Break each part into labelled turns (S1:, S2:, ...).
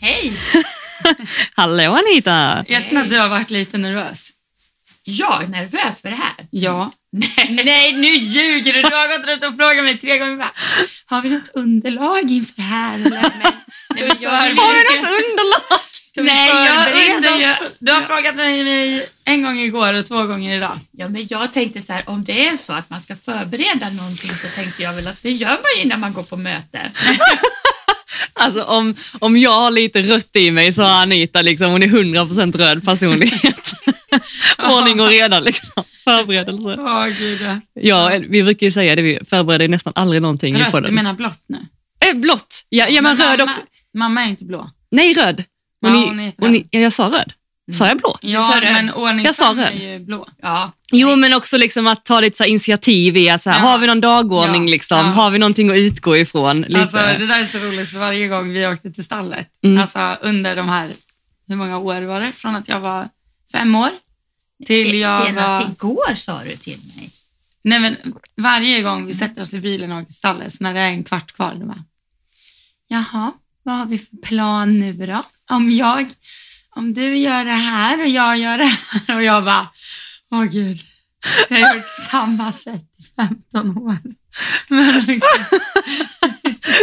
S1: Hej!
S2: Hallå Anita!
S3: Jag känner att du har varit lite nervös.
S1: Jag är nervös för det här.
S3: Ja. Nej, nu ljuger du! Du har gått runt och frågat mig tre gånger. Bara, har vi något underlag inför det här? Eller? Men,
S1: Nej, men jag vill-
S2: Har vi något underlag?
S3: ska vi
S1: Nej, jag
S3: förbereda
S1: undrar
S3: oss?
S1: ju-
S3: Du har frågat mig- mig en gång igår och två gånger idag.
S1: Ja, men jag tänkte så här, om det är så att man ska förbereda någonting så tänkte jag väl att det gör man ju innan man går på möte.
S2: Alltså om, om jag har lite rött i mig så har Anita liksom, hon är 100% röd personlighet. Ordning och reda liksom. Förberedelse.
S3: Åh, gud. ja.
S2: Ja, vi brukar ju säga det, vi förbereder nästan aldrig någonting i
S3: Rött, du
S2: podden.
S3: menar blått nu?
S2: Eh, blått! Ja, ja men, röd
S3: mamma,
S2: också.
S3: Mamma är inte blå.
S2: Nej, röd. Hon
S3: Ja,
S2: är-
S3: hon är
S2: hon är-
S3: röd.
S2: ja, jag sa röd. Sa jag blå?
S3: Ja,
S1: sa röd.
S3: men ordningsam
S2: Jag sa
S3: är
S2: röd.
S3: ju blå.
S1: Ja,
S2: Jo, men också liksom att ta lite så här initiativ i att så här,
S3: Ja.
S2: har vi någon dagordning,
S3: Ja.
S2: liksom?
S3: Ja.
S2: har vi någonting att utgå ifrån? Lite.
S3: Alltså, det där är så roligt för varje gång vi åkte till stallet, alltså under de här, hur många år var det? Från att jag var fem år till jag
S1: senast
S3: var...
S1: igår sa du till mig.
S3: Nej, men varje gång vi sätter oss i bilen och åker till stallet, så när det är en kvart kvar, då bara, jaha, vad har vi för plan nu då? Om jag, om du gör det här och jag gör det här och jag bara, åh gud, jag har gjort samma sätt i 15 år. Men liksom,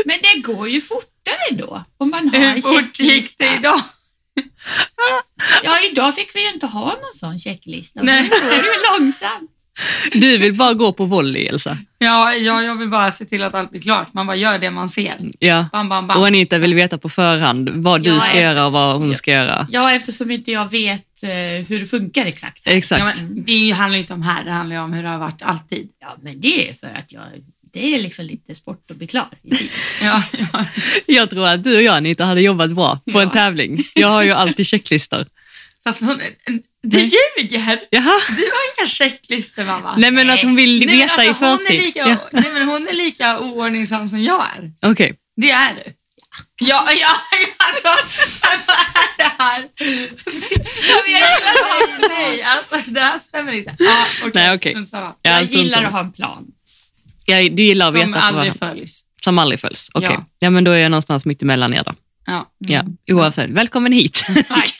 S1: Men det går ju fortare då, om man har
S3: hur
S1: en
S3: fort gick det
S1: checklista.
S3: idag?
S1: Ja, idag fick vi ju inte ha någon sån checklista.
S3: Nej.
S1: Nej. Då går det ju långsamt.
S2: Du vill bara gå på volley, Elsa.
S3: Ja, ja, jag vill bara se till att allt blir klart. Man bara gör det man ser.
S2: Ja.
S3: Bam, bam,
S2: Och
S3: bam.
S2: Anita vill veta på förhand vad du
S1: Ja,
S2: ska
S1: efter-
S2: göra och vad hon ska göra.
S1: Ja, eftersom inte jag vet eh, hur det funkar exakt.
S2: Exakt.
S3: Ja, men det är ju- handlar ju inte om här, det handlar ju om hur det har varit alltid.
S1: Ja, men det är för att jag, det är liksom lite sport att bli klar i tid.
S3: Ja, ja.
S2: Jag tror att du och jag, Anita, hade jobbat bra på en tävling. Jag har ju alltid checklistor.
S3: Fast hon, du ljuger!
S2: Jaha?
S3: Du har inga checklistor mamma.
S2: Nej, men att hon vill
S3: Nej, men
S2: veta
S3: alltså,
S2: i förtid.
S3: Hon är, lika,
S2: Ja.
S3: nej, men hon är lika oordningsam som jag är.
S2: Okej.
S3: Det är du. Ja, ja, alltså vad är det här?
S1: Jag, gillar,
S3: Nej, nej, alltså det här stämmer inte. Ja, okej.
S2: Nej, okej.
S3: strunt samma.
S2: Ja,
S1: jag
S2: alltså inte
S1: gillar
S2: så.
S1: att ha en plan.
S2: Ja, du gillar att veta
S3: Som
S2: på
S3: aldrig
S2: förhand.
S3: följs.
S2: Som aldrig följs. Okej.
S3: Ja. Mm.
S2: Ja. men då är jag någonstans mitt emellan er då.
S3: Ja.
S2: Ja, oavsett. Välkommen hit.
S1: Tack.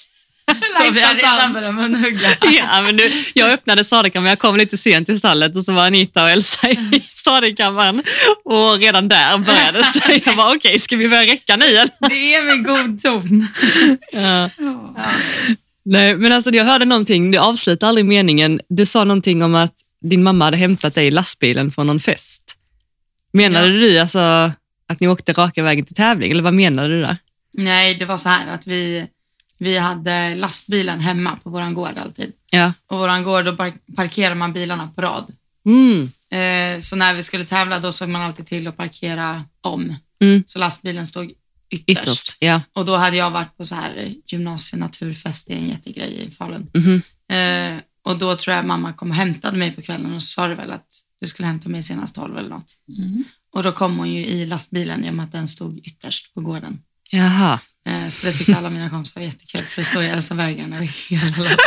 S3: Så vi har
S1: Lifehack.
S3: redan börjat munhugga.
S2: ja, men du, jag öppnade sadelkammaren, jag kom lite sent till stallet och så var Anita och Elsa i sadelkammaren och redan där började det. Jag var okej, ska vi börja räcka nu eller?
S3: Det är med god ton.
S2: Ja.
S1: Ja.
S2: Nej, men alltså jag hörde någonting, du avslutade aldrig meningen. Du sa någonting om att din mamma hade hämtat dig i lastbilen från någon fest. Menade
S3: Ja.
S2: du alltså att ni åkte raka vägen till tävling, eller vad menade du där?
S3: Nej, det var så här att vi, vi hade lastbilen hemma på våran gård alltid.
S2: Ja.
S3: Och våran gård, då par- parkerar man bilarna på rad.
S2: Mm.
S3: Eh, så när vi skulle tävla då såg man alltid till att parkera om.
S2: Mm.
S3: Så lastbilen stod ytterst.
S2: Ytterst, ja.
S3: Och då hade jag varit på så här gymnasienaturfest, det är en jättegrej i Falun.
S2: Mhm.
S3: Eh, och då tror jag mamma kom och hämtade mig på kvällen och så sa det väl att du skulle hämta mig senast tolv eller något.
S1: Mm.
S3: Och då kom hon ju i lastbilen i och med att den stod ytterst på gården.
S2: Jaha.
S3: Eh, Så det tyckte alla mina kompisar var jättekul, för det står ju Elsa Berggren över hela landet.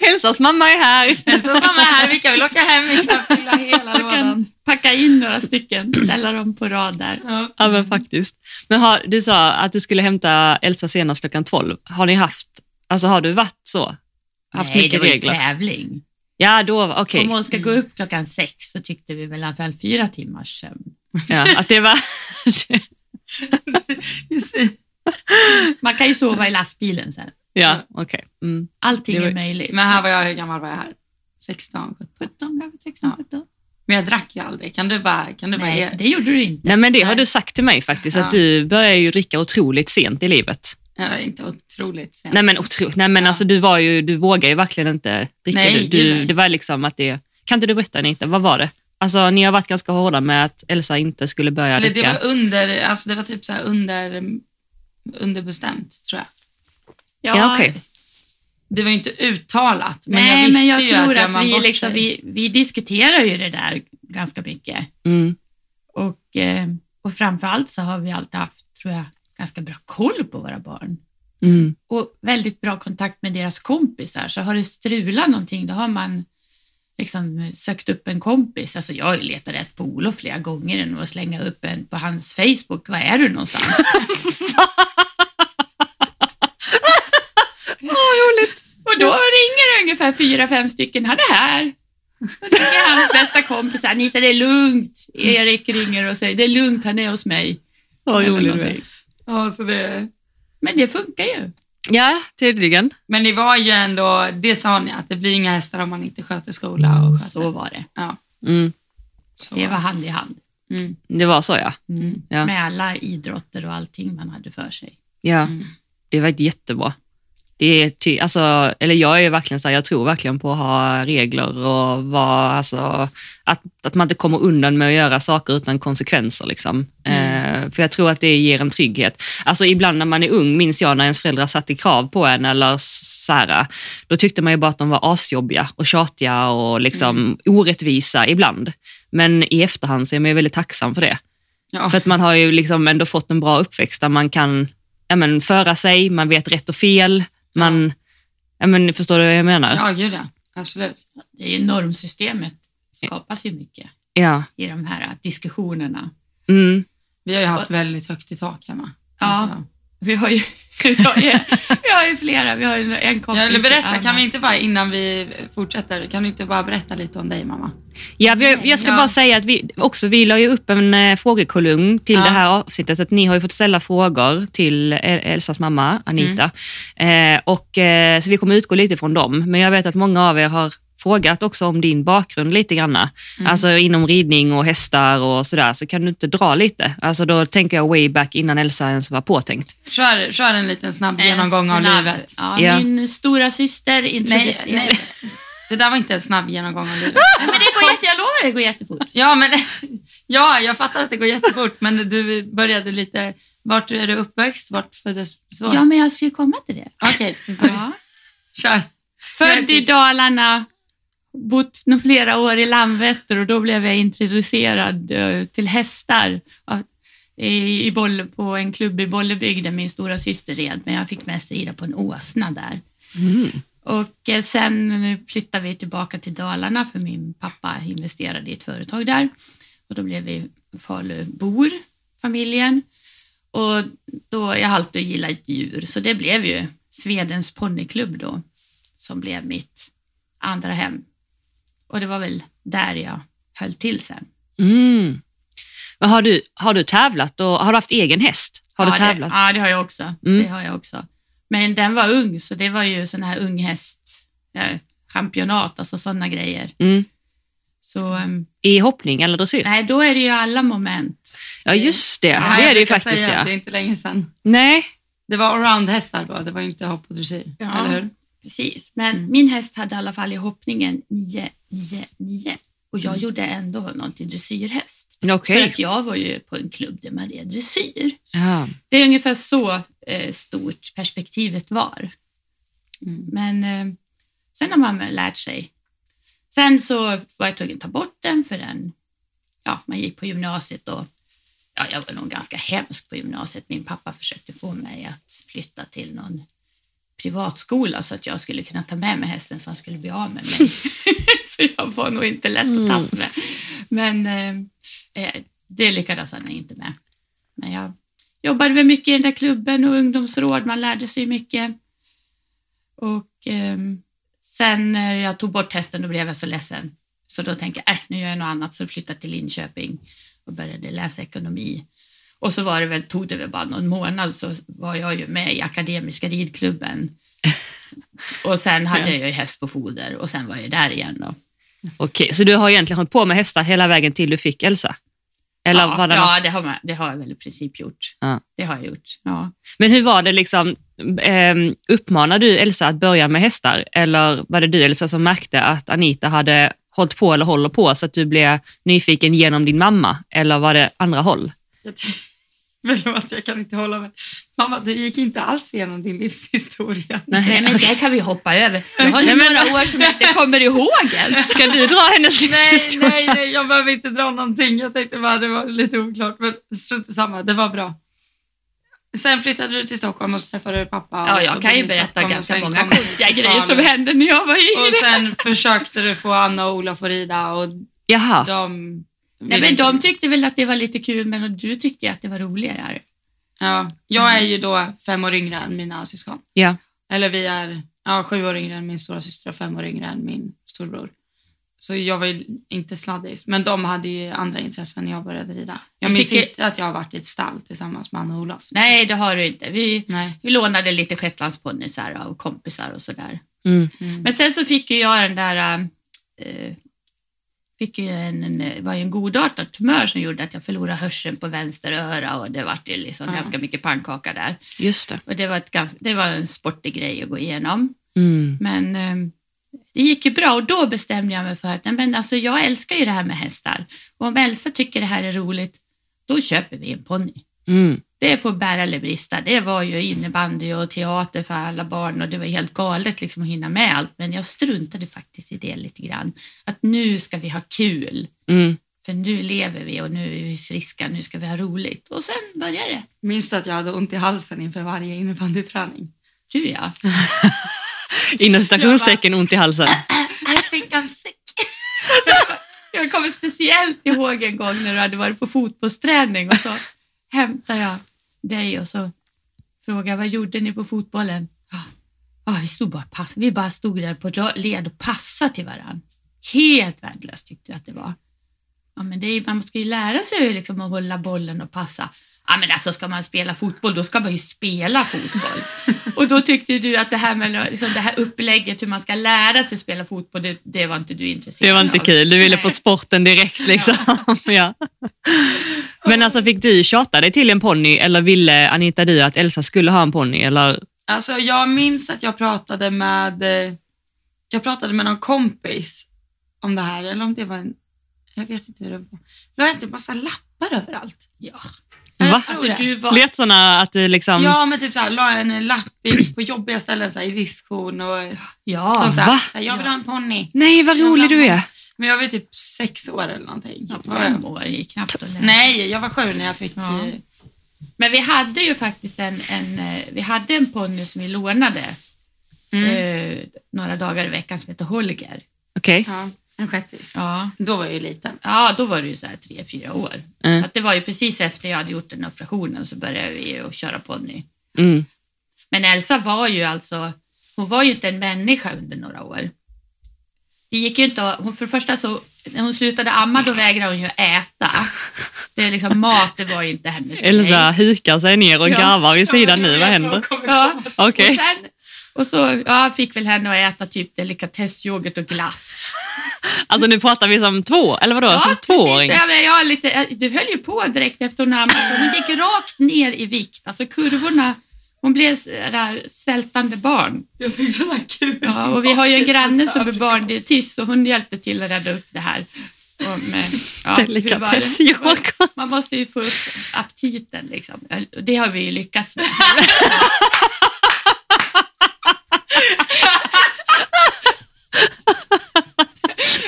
S2: Hälsas mamma är här!
S3: Elsa mamma är här, vi kan väl åka hem, vi kan fylla hela
S1: Jag kan
S3: lådan.
S1: packa in några stycken, ställa dem på rad där.
S3: Ja.
S2: Ja, men faktiskt. Men har, du sa att du skulle hämta Elsa senast klockan 12. Har ni haft, alltså har du varit så? Haft
S1: Nej, det
S2: mycket
S1: var ju
S2: regler?
S1: tävling.
S2: Ja, då, var- okej.
S1: Om hon ska gå upp klockan sex så tyckte vi väl i alla fall fyra timmars sömn.
S2: Ja, att det var...
S1: Man kan ju sova i lastbilen sen.
S2: ja, okej. Mm.
S1: Allting
S2: Det var-
S1: är möjligt.
S3: Men här var jag, hur gammal var jag här? 16, 17.
S1: 17, kanske 16, 17.
S3: Men jag drack ju aldrig, kan du bara, kan du bara
S1: Nej,
S3: ge?
S1: det gjorde du inte.
S2: Nej, men det har du sagt till mig faktiskt,
S3: Ja.
S2: att du börjar ju dricka otroligt sent i livet.
S3: Jag är inte otroligt sen.
S2: Nej, men otroligt. Nej, men
S3: Ja.
S2: alltså du var ju, du vågar ju verkligen inte dricka.
S3: Nej,
S2: du,
S3: gud,
S2: du,
S3: nej.
S2: det var liksom att det... Kan inte du berätta Anita, vad var det? Alltså ni har varit ganska hårda med att Elsa inte skulle börja
S3: Eller det
S2: dricka.
S3: var under, alltså det var typ så här under, underbestämt tror jag.
S1: Ja,
S2: Ja, okej.
S3: Det var ju inte uttalat, men jag
S1: Nej,
S3: visste
S1: men jag
S3: ju
S1: tror
S3: att, gör
S1: att,
S3: man
S1: vi,
S3: bort
S1: liksom,
S3: sig-
S1: vi, vi diskuterar ju det där ganska mycket.
S2: Mm.
S1: Och, eh, och framförallt så har vi alltid haft, tror jag, ganska bra koll på våra barn.
S2: Mm.
S1: och väldigt bra kontakt med deras kompisar. Så har det strulat någonting, då har man liksom sökt upp en kompis. Alltså jag har ju letat rätt på Olof flera gånger än att slänga upp en på hans Facebook. Var är du någonstans? ungefär fyra, fem stycken. Han är här. Och det är hans bästa kompis. Anita, det är lugnt. Erik ringer och säger, det är lugnt, han är hos mig.
S2: Vad
S1: Eller
S2: rolig du är.
S1: någonting.
S3: Ja, så det...
S1: Men det funkar ju.
S2: Ja, tydligen.
S3: Men det var ju ändå, det sa ni, att det blir inga hästar om man inte sköter skola och sköter.
S1: Mm, Så var det.
S3: Ja,
S2: Mm.
S3: så.
S1: Det var hand i hand.
S3: Mm.
S2: Det var så ja.
S1: Mm.
S2: Ja.
S1: Med alla idrotter och allting man hade för sig.
S2: ja.
S3: Mm.
S2: Det var jättebra. Det är ty- alltså, eller jag är ju verkligen så här, jag tror verkligen på att ha regler och vara, alltså, att, att man inte kommer undan med att göra saker utan konsekvenser. Liksom. Eh, för jag tror att det ger en trygghet. Alltså, ibland när man är ung, minns jag när ens föräldrar satte krav på en, eller så här, då tyckte man ju bara att de var asjobbiga och tjatiga och liksom orättvisa ibland. Men i efterhand så är man ju väldigt tacksam för det.
S3: Ja.
S2: För att man har ju liksom ändå fått en bra uppväxt där man kan ja, men, föra sig, man vet rätt och fel. Man, ja, men, förstår du vad jag menar?
S3: ja, gud ja. Absolut.
S1: Det är ju normsystemet skapas ju mycket
S2: Ja.
S1: i de här diskussionerna.
S2: Mm.
S3: Vi har ju haft väldigt högt i tak hemma. Alltså-
S1: Ja. Vi har ju, vi har ju, vi har ju flera, vi har ju en kompis.
S3: Ja, eller berätta,
S1: Anna.
S3: kan vi inte bara innan vi fortsätter, kan du inte bara berätta lite om dig mamma?
S2: Ja, vi, jag ska
S3: Ja.
S2: bara säga att vi, också, vi la ju upp en eh, frågekolumn till
S3: Ja.
S2: det här avsnittet. Att ni har ju fått ställa frågor till El- Elsas mamma, Anita. Eh, och, eh, så vi kommer utgå lite från dem. Men jag vet att många av er har frågat också om din bakgrund lite granna. Alltså inom ridning och hästar och sådär. Så kan du inte dra lite? Alltså då tänker jag way back innan Elsa ens var påtänkt.
S3: Kör, kör en liten snabb
S1: En
S3: genomgång av
S1: snabb-
S3: livet.
S1: Eh, Ja,
S2: Ja.
S1: Min stora syster
S3: Nej,
S1: introducerade.
S3: nej. Det där var inte en snabb genomgång av livet.
S1: Men det går jätte, jag lovar, det går jättefort.
S3: Ja, men, ja, jag fattar att det går jättefort, men du började lite... Vart är du uppväxt? Vart föddes du? så?
S1: Ja, men jag skulle komma till det.
S3: Okej, vi börjar.
S1: Ja.
S3: kör.
S1: Född i Dalarna, bott nå- flera år i Landvetter och då blev jag introducerad eh, till hästar av- i, i Bolle, på en klubb i Bollebygd där min stora syster red, men jag fick mest rida på en åsna där. Och eh, sen flyttade vi tillbaka till Dalarna för min pappa investerade i ett företag där. Och då blev vi Falubor, familjen. Och då, jag har alltid gillat djur, så det blev ju Svedens ponnyklubb då, som blev mitt andra hem. Och det var väl där jag höll till sen.
S2: Mm. Men har, du, har du tävlat och har du haft egen häst? Har du
S1: ja,
S2: tävlat?
S1: Det, ja, det har jag också.
S2: Mm.
S1: Det har jag också. Men den var ung, så det var ju sån här unghäst, eh, championat, alltså sådana grejer.
S2: Mm.
S1: Så ehm,
S2: I hoppning eller dressyr?
S1: nej, då är det ju alla moment.
S2: Ja, just det.
S3: Ja,
S2: det
S3: jag
S2: är det ju
S3: brukar
S2: faktiskt.
S3: säga att Det
S2: Ja.
S3: är inte länge sedan.
S2: Nej.
S3: Det var allround-hästar då, det var ju inte hopp och dressyr.
S1: Ja.
S3: Eller hur?
S1: Precis, men min häst hade i alla fall i hoppningen 9, 9, 9 och jag gjorde ändå någon till dressyrhäst.
S2: Okej.
S1: För att jag var ju på en klubb där man red dressyr.
S2: Ja.
S1: Det är ungefär så eh, stort perspektivet var.
S3: Mm.
S1: Men eh, sen har man väl lärt sig. Sen så var jag tvungen att ta bort den för den, ja, man gick på gymnasiet och ja, jag var nog ganska hemsk på gymnasiet. Min pappa försökte få mig att flytta till någon privatskola så att jag skulle kunna ta med mig hästen så han skulle bli av med mig. så jag var nog inte lätt att tas med. Men eh, eh, det lyckades han inte med. Men jag jobbade väl mycket i den där klubben och ungdomsråd, man lärde sig mycket. Och ehm, sen när jag tog bort hästen då blev jag så ledsen. Så då tänkte jag, äh, nu gör jag något annat, så flyttade jag till Linköping och började läsa ekonomi. Och så var det väl, tog det väl bara någon månad så var jag ju med i Akademiska ridklubben. Och sen hade jag ju häst på foder och sen var jag där igen då.
S2: Okej, så du har egentligen hållit på med hästar hela vägen till du fick Elsa? Eller
S1: ja,
S2: var det något?
S1: ja det, har man, det har jag väl i princip gjort.
S2: Ja.
S1: Det har jag gjort, ja.
S2: Men hur var det, liksom, ehm, uppmanade du Elsa att börja med hästar? Eller var det du Elsa som märkte att Anita hade hållit på eller håller på så att du blev nyfiken genom din mamma? Eller var det andra håll?
S3: Jag ty- Förlåt, jag kan inte hålla mig. Mamma, du gick inte alls igenom din livshistoria.
S1: Nej, men det kan vi hoppa över. Jag har ju
S2: Nej, men-
S1: några år som jag inte kommer ihåg ens.
S2: Ska du dra hennes
S3: Nej,
S2: livshistoria?
S3: nej, nej, jag behöver inte dra någonting. Jag tänkte bara det var lite oklart, men strunt samma, det var bra. Sen flyttade du till Stockholm och så träffade du pappa. och
S1: Ja,
S3: så
S1: jag
S3: bodde
S1: kan
S3: du
S1: ju
S3: i
S1: berätta
S3: Stockholm och
S1: ganska
S3: sen
S1: många
S3: kom-
S1: konstiga grejer som
S3: barnen.
S1: hände när jag var yngre.
S3: Och sen försökte du få Anna och Olof att rida och
S2: Jaha,
S3: de...
S1: Nej,
S3: ville
S1: men de
S3: inte-
S1: tyckte väl att det var lite kul, men du tyckte ju att det var roligare.
S3: ja, jag är ju då fem år yngre än mina syskon.
S2: ja.
S3: Eller vi är... ja, sju år yngre än min stora syster och fem år yngre än min storbror. Så jag var ju inte sladdis, men de hade ju andra intressen när jag började rida. Jag
S1: Jag
S3: minns
S1: tycker-
S3: inte att jag har varit i ett stall tillsammans med Anna och Olof.
S1: Nej, det har du inte. Vi,
S3: Nej.
S1: vi lånade lite shetlandsponnyer av kompisar och sådär.
S2: Mm.
S3: Mm.
S1: Men sen så fick ju jag den där... eh, fick ju en, en, det var ju en godartad tumör som gjorde att jag förlorade hörseln på vänster öra och det var ju liksom
S3: Ja.
S1: ganska mycket pannkaka där.
S2: Just det.
S1: Och det var, ett ganska, det var en sportig grej att gå igenom.
S2: Mm.
S1: Men eh, det gick ju bra och då bestämde jag mig för att nej, men alltså, jag älskar ju det här med hästar. Och om Elsa tycker det här är roligt, då köper vi en ponny.
S2: Mm.
S1: Det får bära eller brista. Det var ju innebandy och teater för alla barn och det var helt galet liksom att hinna med allt. Men jag struntade faktiskt i det lite grann. Att nu ska vi ha kul,
S2: Mm.
S1: för nu lever vi och nu är vi friska, nu ska vi ha roligt. Och sen började det.
S3: Minns du att jag hade ont i halsen inför varje innebandyträning?
S1: Du ja.
S2: Inom citationstecken ont i halsen.
S3: I think I'm sick.
S1: Jag kommer speciellt ihåg en gång när du hade varit på fotbollsträning och så hämtade jag dig och så frågade jag, vad gjorde ni på fotbollen? Ja, ja, vi, stod bara och pass- vi bara stod där på ra- led och passade till varandra. Helt värdelöst tyckte jag att det var. Ja, men det är, ju- man ska ju lära sig liksom att hålla bollen och passa. Ja, men alltså ska man spela fotboll, då ska man ju spela fotboll. Och då tyckte du att det här, med, liksom det här upplägget, hur man ska lära sig spela fotboll, det, det var inte du intresserad
S2: Det var inte
S1: av.
S2: kul. Du ville
S1: Nej.
S2: på sporten direkt liksom. Ja. Men alltså fick du tjata dig till en ponny eller ville Anita du att Elsa skulle ha en ponny? eller?
S3: Alltså jag minns att jag pratade med eh, jag pratade med någon kompis om det här, eller om det var en, jag vet inte hur det var. La inte en massa lappar överallt?
S1: Ja.
S3: Jag
S2: Va?
S3: tror
S1: Alltså,
S3: det.
S1: du var...
S2: Lät såna att du liksom...
S3: Ja, men typ såhär, la en lapp i, på jobbiga ställen såhär, i diskon och
S1: Ja.
S3: sånt där.
S2: va?
S3: Såhär, jag vill
S1: Ja.
S3: ha en ponny.
S2: Nej, vad rolig du är.
S3: Men jag var ju typ sex år eller någonting.
S1: Ja,
S3: Var jag?
S1: fem år är knappt att lära.
S3: Nej, jag var sju när jag fick...
S1: Ja.
S3: eh,
S1: Men vi hade ju faktiskt en, en, eh, vi hade en ponny som vi lånade
S3: Mm.
S1: eh, några dagar i veckan som hette Holger.
S2: Okej.
S3: Ja, en shettis.
S1: Ja.
S3: Då var jag ju liten.
S1: ja, då var det ju så här tre, fyra år.
S2: Mm.
S1: Så att det var ju precis efter jag hade gjort den operationen så började vi ju att köra ponny.
S2: Mm.
S1: Men Elsa var ju alltså, hon var ju inte en människa under några år. Det gick ju inte att, hon för det första så, när hon slutade amma då vägrade hon ju äta. Det är liksom, mat det var ju inte hennes
S2: Elsa hukar sig ner och
S1: Ja.
S2: garvar vid sidan nu. Vad händer?
S1: Ja.
S2: Okej.
S1: Och, sen, och så ja, fick väl henne att äta typ delikatessyoghurt och glass.
S2: Alltså nu pratar vi som två, eller vadå? som
S1: precis.
S2: tvååring?
S1: Ja, men jag är lite, du höll ju på direkt efter hon ammade. Hon gick rakt ner i vikt. Alltså kurvorna, hon blev så där svältande barn.
S3: Jag fick såna kul.
S1: Ja, och vi har ju en granne som är barndietist och hon hjälpte till att rädda upp det här. Om, eh, ja, hur var det?
S2: Delikatessyoghurt.
S1: Man måste ju få upp aptiten liksom. Och Det har vi ju lyckats med.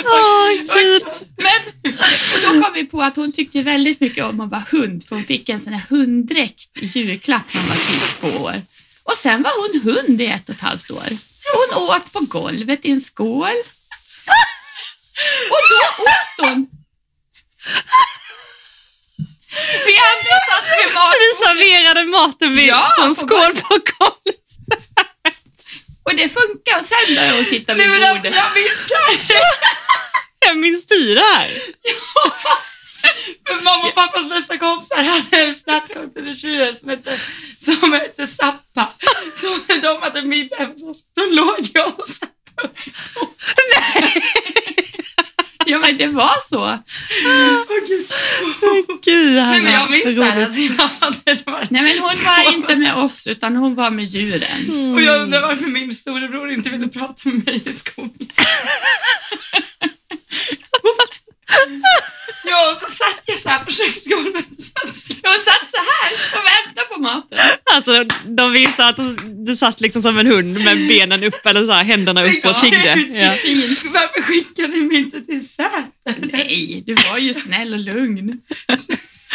S2: Åh, gud.
S1: Men och då kom vi på att hon tyckte väldigt mycket om att vara hund, för hon fick en sån här hunddräkt i julklapp när hon var typ två år. Och sen var hon hund i ett och ett halvt år. Hon åt på golvet i en skål. Och då åt hon! Vi andra satt med
S2: Så
S1: mat
S2: vi serverade maten vid,
S1: Ja,
S2: på en
S1: på
S2: skål på golvet.
S1: och det funkar och sen började hon sitta vid
S3: Nej, men alltså,
S1: bordet.
S3: jag minns det här.
S2: Jag minns du det här?
S3: För mamma och pappas bästa kompisar hade en flatcoated retriever som hette, som hette Zappa. Så när de hade middag hos oss, då låg jag och Zappa.
S1: Ja men det var så.
S3: Åh, gud.
S2: Gud, Hanna.
S3: Nej, men jag minns det här.
S2: roligt.
S3: Alltså, jag hade varit...
S1: Nej men hon var inte med oss utan hon var med djuren.
S3: Och jag undrar varför min storebror inte ville prata med mig i skolan. ja, och så satt jag så här på köksgolvet och sen så
S1: Hon satt så här och väntade på maten.
S2: Alltså, de visade att hon- du satt liksom som en hund med benen upp eller så här, händerna upp och tiggde. Ja.
S1: Fin
S3: Varför skickar ni mig inte till Säter?
S1: Nej, du var ju snäll och lugn.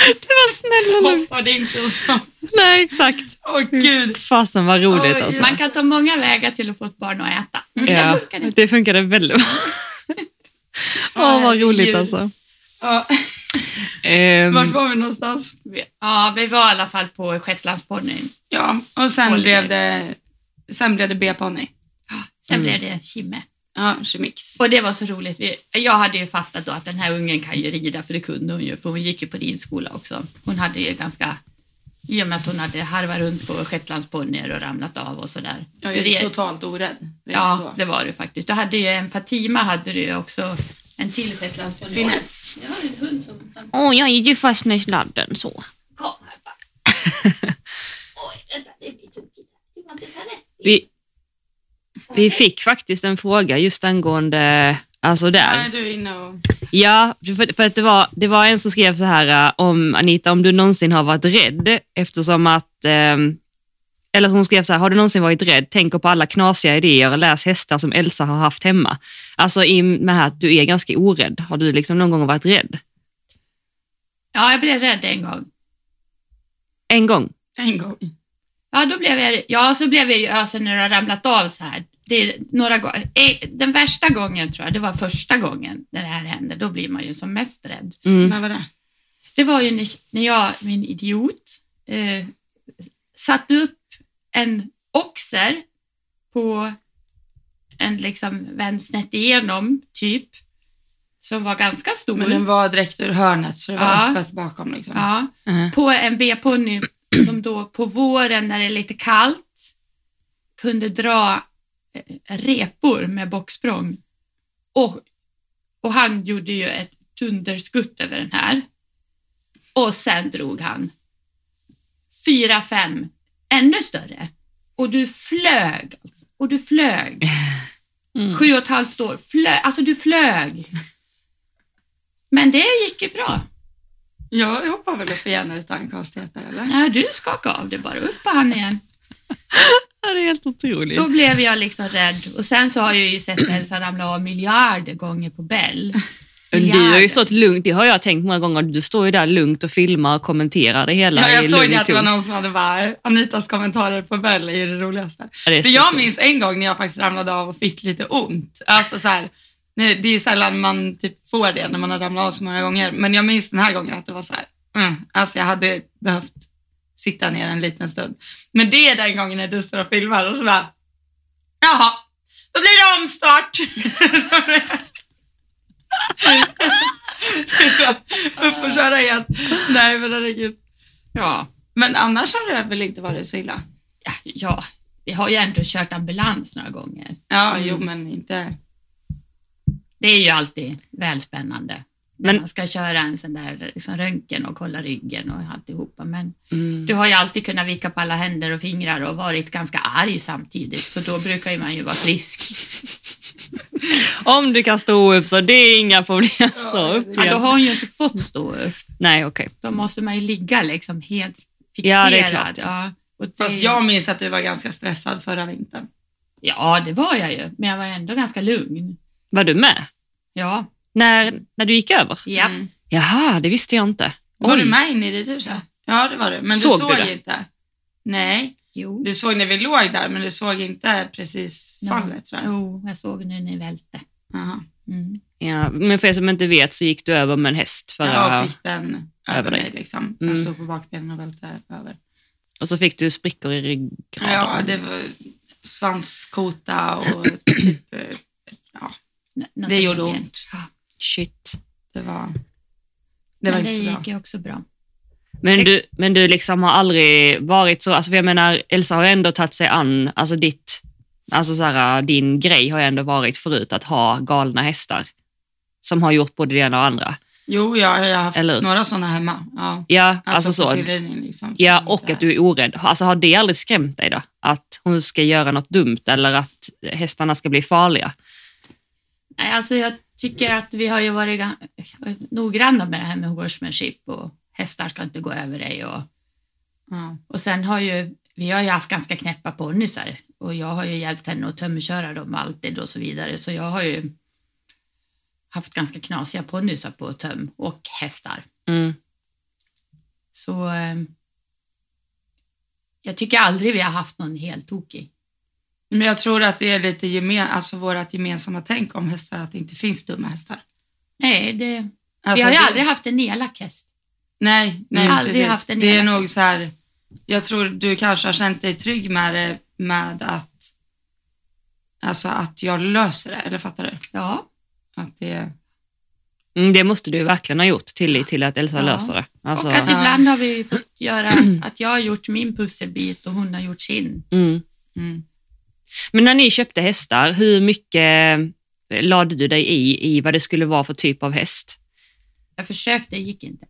S2: Det var snälla lugnt.
S3: Hoppade inte och så.
S2: Nej, exakt.
S3: Åh gud.
S2: Fasen vad roligt
S3: Oj,
S2: alltså.
S1: Man kan ta många vägar till att få ett barn att äta. Men
S2: Ja,
S1: det funkar inte.
S2: det funkade väldigt bra. Åh, vad roligt alltså.
S3: Ja,
S2: Ehm,
S3: vart var vi någonstans?
S1: Ja, vi var i alla fall på Shetlandsponnyn.
S3: Ja, och sen
S1: Oliver.
S3: blev det, sen blev det B-ponny.
S1: Sen
S2: Mm.
S1: blev det Kimme.
S3: Ja, remix.
S1: Och det var så roligt. Vi- Jag hade ju fattat då att den här ungen kan ju rida, för det kunde hon ju, för hon gick ju på ridskola också. Hon hade ju ganska, i och med att hon hade harvat runt på shetlandsponnyer och ramlat av och sådär.
S3: Jag är
S1: Du
S3: ju
S1: red-
S3: totalt orädd. redan
S1: ja
S3: då.
S1: det var du faktiskt. Du hade ju en Fatima, hade du ju också en till shetlandsponny.
S3: Finess.
S1: Jag har en hund som
S2: Åh, jag är ju fast i sladden så.
S1: kom här bara. Oj, vänta, det blir tokigt. Du måste ta rätt.
S2: Vi, vi fick faktiskt en fråga just angående, alltså där.
S3: Nej, du är inne och...
S2: Ja, för, för att det var, det var en som skrev så här eh, om Anita, om du någonsin har varit rädd eftersom att, ehm, eller som hon skrev så här, har du någonsin varit rädd? Tänker på alla knasiga idéer och läs hästar som Elsa har haft hemma. Alltså i med här att du är ganska orädd. Har du liksom någon gång varit rädd?
S1: Ja, jag blev rädd en gång.
S2: En gång?
S3: En gång.
S1: Ja, då blev jag, ja, så blev jag ju, alltså när jag ramlat av så här. Det är några gånger. eh, Den värsta gången tror jag, det var första gången när det här hände, då blir man ju som mest rädd.
S2: Mm.
S3: När var det?
S1: Det var ju när, när jag, min idiot, eh, satte upp en oxer på en liksom vänd snett igenom, typ, som var ganska stor.
S3: Men den var direkt ur hörnet så det var
S1: Ja.
S3: öppet bakom liksom.
S1: Ja.
S2: Mhm.
S1: på en B-ponny som då på våren när det är lite kallt kunde dra eh, repor med bocksprång. Och, och han gjorde ju ett dunderskutt över den här. Och sen drog han fyra, fem ännu större. Och du flög. Alltså. Och du flög. Sju och ett halvt år. Flög. Alltså du flög. Men det gick ju bra.
S3: Jag hoppar väl upp igen utan konstigheter eller?
S1: Nej, du skakade av det bara. Upp på han igen.
S2: Ja, det är helt otroligt.
S1: Då blev jag liksom rädd. Och sen så har jag ju sett Elsa ramla av miljarder gånger på Bell.
S2: Du har ju stått lugnt, det har jag tänkt många gånger, du står ju där lugnt och filmar och kommenterar det hela
S3: Ja,
S2: i
S3: jag såg
S2: lugn
S3: det
S2: och
S3: att det var
S2: ton.
S3: någon som hade bara, Anitas kommentarer på Bell är det roligaste.
S2: Ja, det är
S3: För
S2: så
S3: jag
S2: kul.
S3: minns en gång när jag faktiskt ramlade av och fick lite ont. Alltså så här, nu, det är sällan man typ får det när man har ramlat av så många gånger. Men jag minns den här gången att det var så här, mm, alltså jag hade behövt sitta ner en liten stund. Men det är den gången när du står och filmar och så bara, jaha, då blir det omstart. Upp och köra igen. Nej men herregud.
S1: Ja,
S3: Men annars har det väl inte varit så illa?
S1: ja, ja, vi har ju ändå kört ambulans några gånger.
S3: Ja, jo men inte...
S1: Det är ju alltid välspännande. Men
S2: Men-
S1: man ska köra en sån där liksom, röntgen och kolla ryggen och alltihopa. Men
S2: Mm.
S1: du har ju alltid kunnat vika på alla händer och fingrar och varit ganska arg samtidigt. Så då brukar ju man ju vara frisk.
S2: Om du kan stå upp så det är inga problem. Så upp
S1: Ja, då
S2: igen.
S1: har hon ju inte fått stå upp.
S2: Nej, okej.
S1: Då måste man ju ligga liksom helt
S2: Ja,
S1: fixerad.
S2: det är klart.
S1: Ja, och det,
S3: Fast jag minns att du var ganska stressad förra vintern.
S1: ja, det var jag ju, men jag var ändå ganska lugn.
S2: Var du med?
S1: Ja,
S2: När, när du gick över?
S1: ja.
S3: Mm.
S2: Jaha, det visste jag inte.
S3: Var
S2: Oj.
S3: du med inne i det huset? Ja, det var du. Men
S2: Såg
S3: du såg
S2: du det?
S3: inte. Nej,
S1: Jo.
S3: du såg när vi låg där, men du såg inte precis
S1: Ja.
S3: fallet tror jag.
S1: jo, jag såg när ni välte.
S3: Jaha.
S1: Mm.
S2: Ja, men för er som inte vet så gick du över med en häst förra,
S3: Jag fick den
S2: över
S3: över
S2: dig.
S3: mig liksom.
S2: Mm.
S3: Jag stod på bakbenen och välte över.
S2: och så fick du sprickor i ryggraden.
S3: Ja, det var svanskota och typ, eh,
S1: N- något
S3: det gjorde
S1: sånt.
S3: ont.
S2: Shit.
S3: Det var, det var
S1: Men det
S3: inte så bra.
S1: gick ju också bra.
S2: Men du, men du liksom har aldrig varit så, alltså för jag menar Elsa har ju ändå tagit sig an, alltså ditt, alltså så här, din grej har ju ändå varit förut att ha galna hästar som har gjort både det ena och det andra.
S3: Jo, jag jag har haft
S2: Eller hur?
S3: några sådana hemma. Ja.
S2: Ja,
S3: Alltså,
S2: alltså,
S3: på
S2: så.
S3: tillredning liksom.
S2: Ja,
S3: Så
S2: och
S3: inte-
S2: att du är orädd. Alltså har det aldrig skrämt dig då? Att hon ska göra något dumt eller att hästarna ska bli farliga?
S1: Nej, alltså jag tycker att vi har ju varit gan- noggranna med det här med horsemanship och hästar ska inte gå över dig. Och,
S3: Ja.
S1: och sen har ju vi har ju haft ganska knäppa ponnysar och jag har ju hjälpt henne att tömmerköra dem alltid och så vidare. Så jag har ju haft ganska knasiga ponnysar på töm och hästar.
S2: Mm.
S1: Så eh, jag tycker aldrig vi har haft någon helt tokig.
S3: Men jag tror att det är lite gemen, alltså vårt gemensamma tänk om hästar, att det inte finns dumma hästar.
S1: Nej, det, vi
S3: Alltså,
S1: har ju
S3: det-
S1: aldrig haft en elak häst.
S3: Nej, nej
S1: Mm. aldrig
S3: precis.
S1: haft en
S3: Det är
S1: elak
S3: nog
S1: häst.
S3: så här, jag tror du kanske har känt dig trygg med det, med att Alltså att jag löser det, eller fattar du?
S1: Ja,
S3: Att det,
S2: Mm, det måste du ju verkligen ha gjort, tillit till att Elsa
S1: Ja.
S2: löser det. Alltså,
S1: och att
S3: Ja.
S1: ibland har vi fått göra att jag har gjort min pusselbit och hon har gjort sin.
S2: mm.
S3: mm.
S2: Men när ni köpte hästar, hur mycket eh, lade du dig i, i vad det skulle vara för typ av häst?
S1: Jag försökte, det gick inte.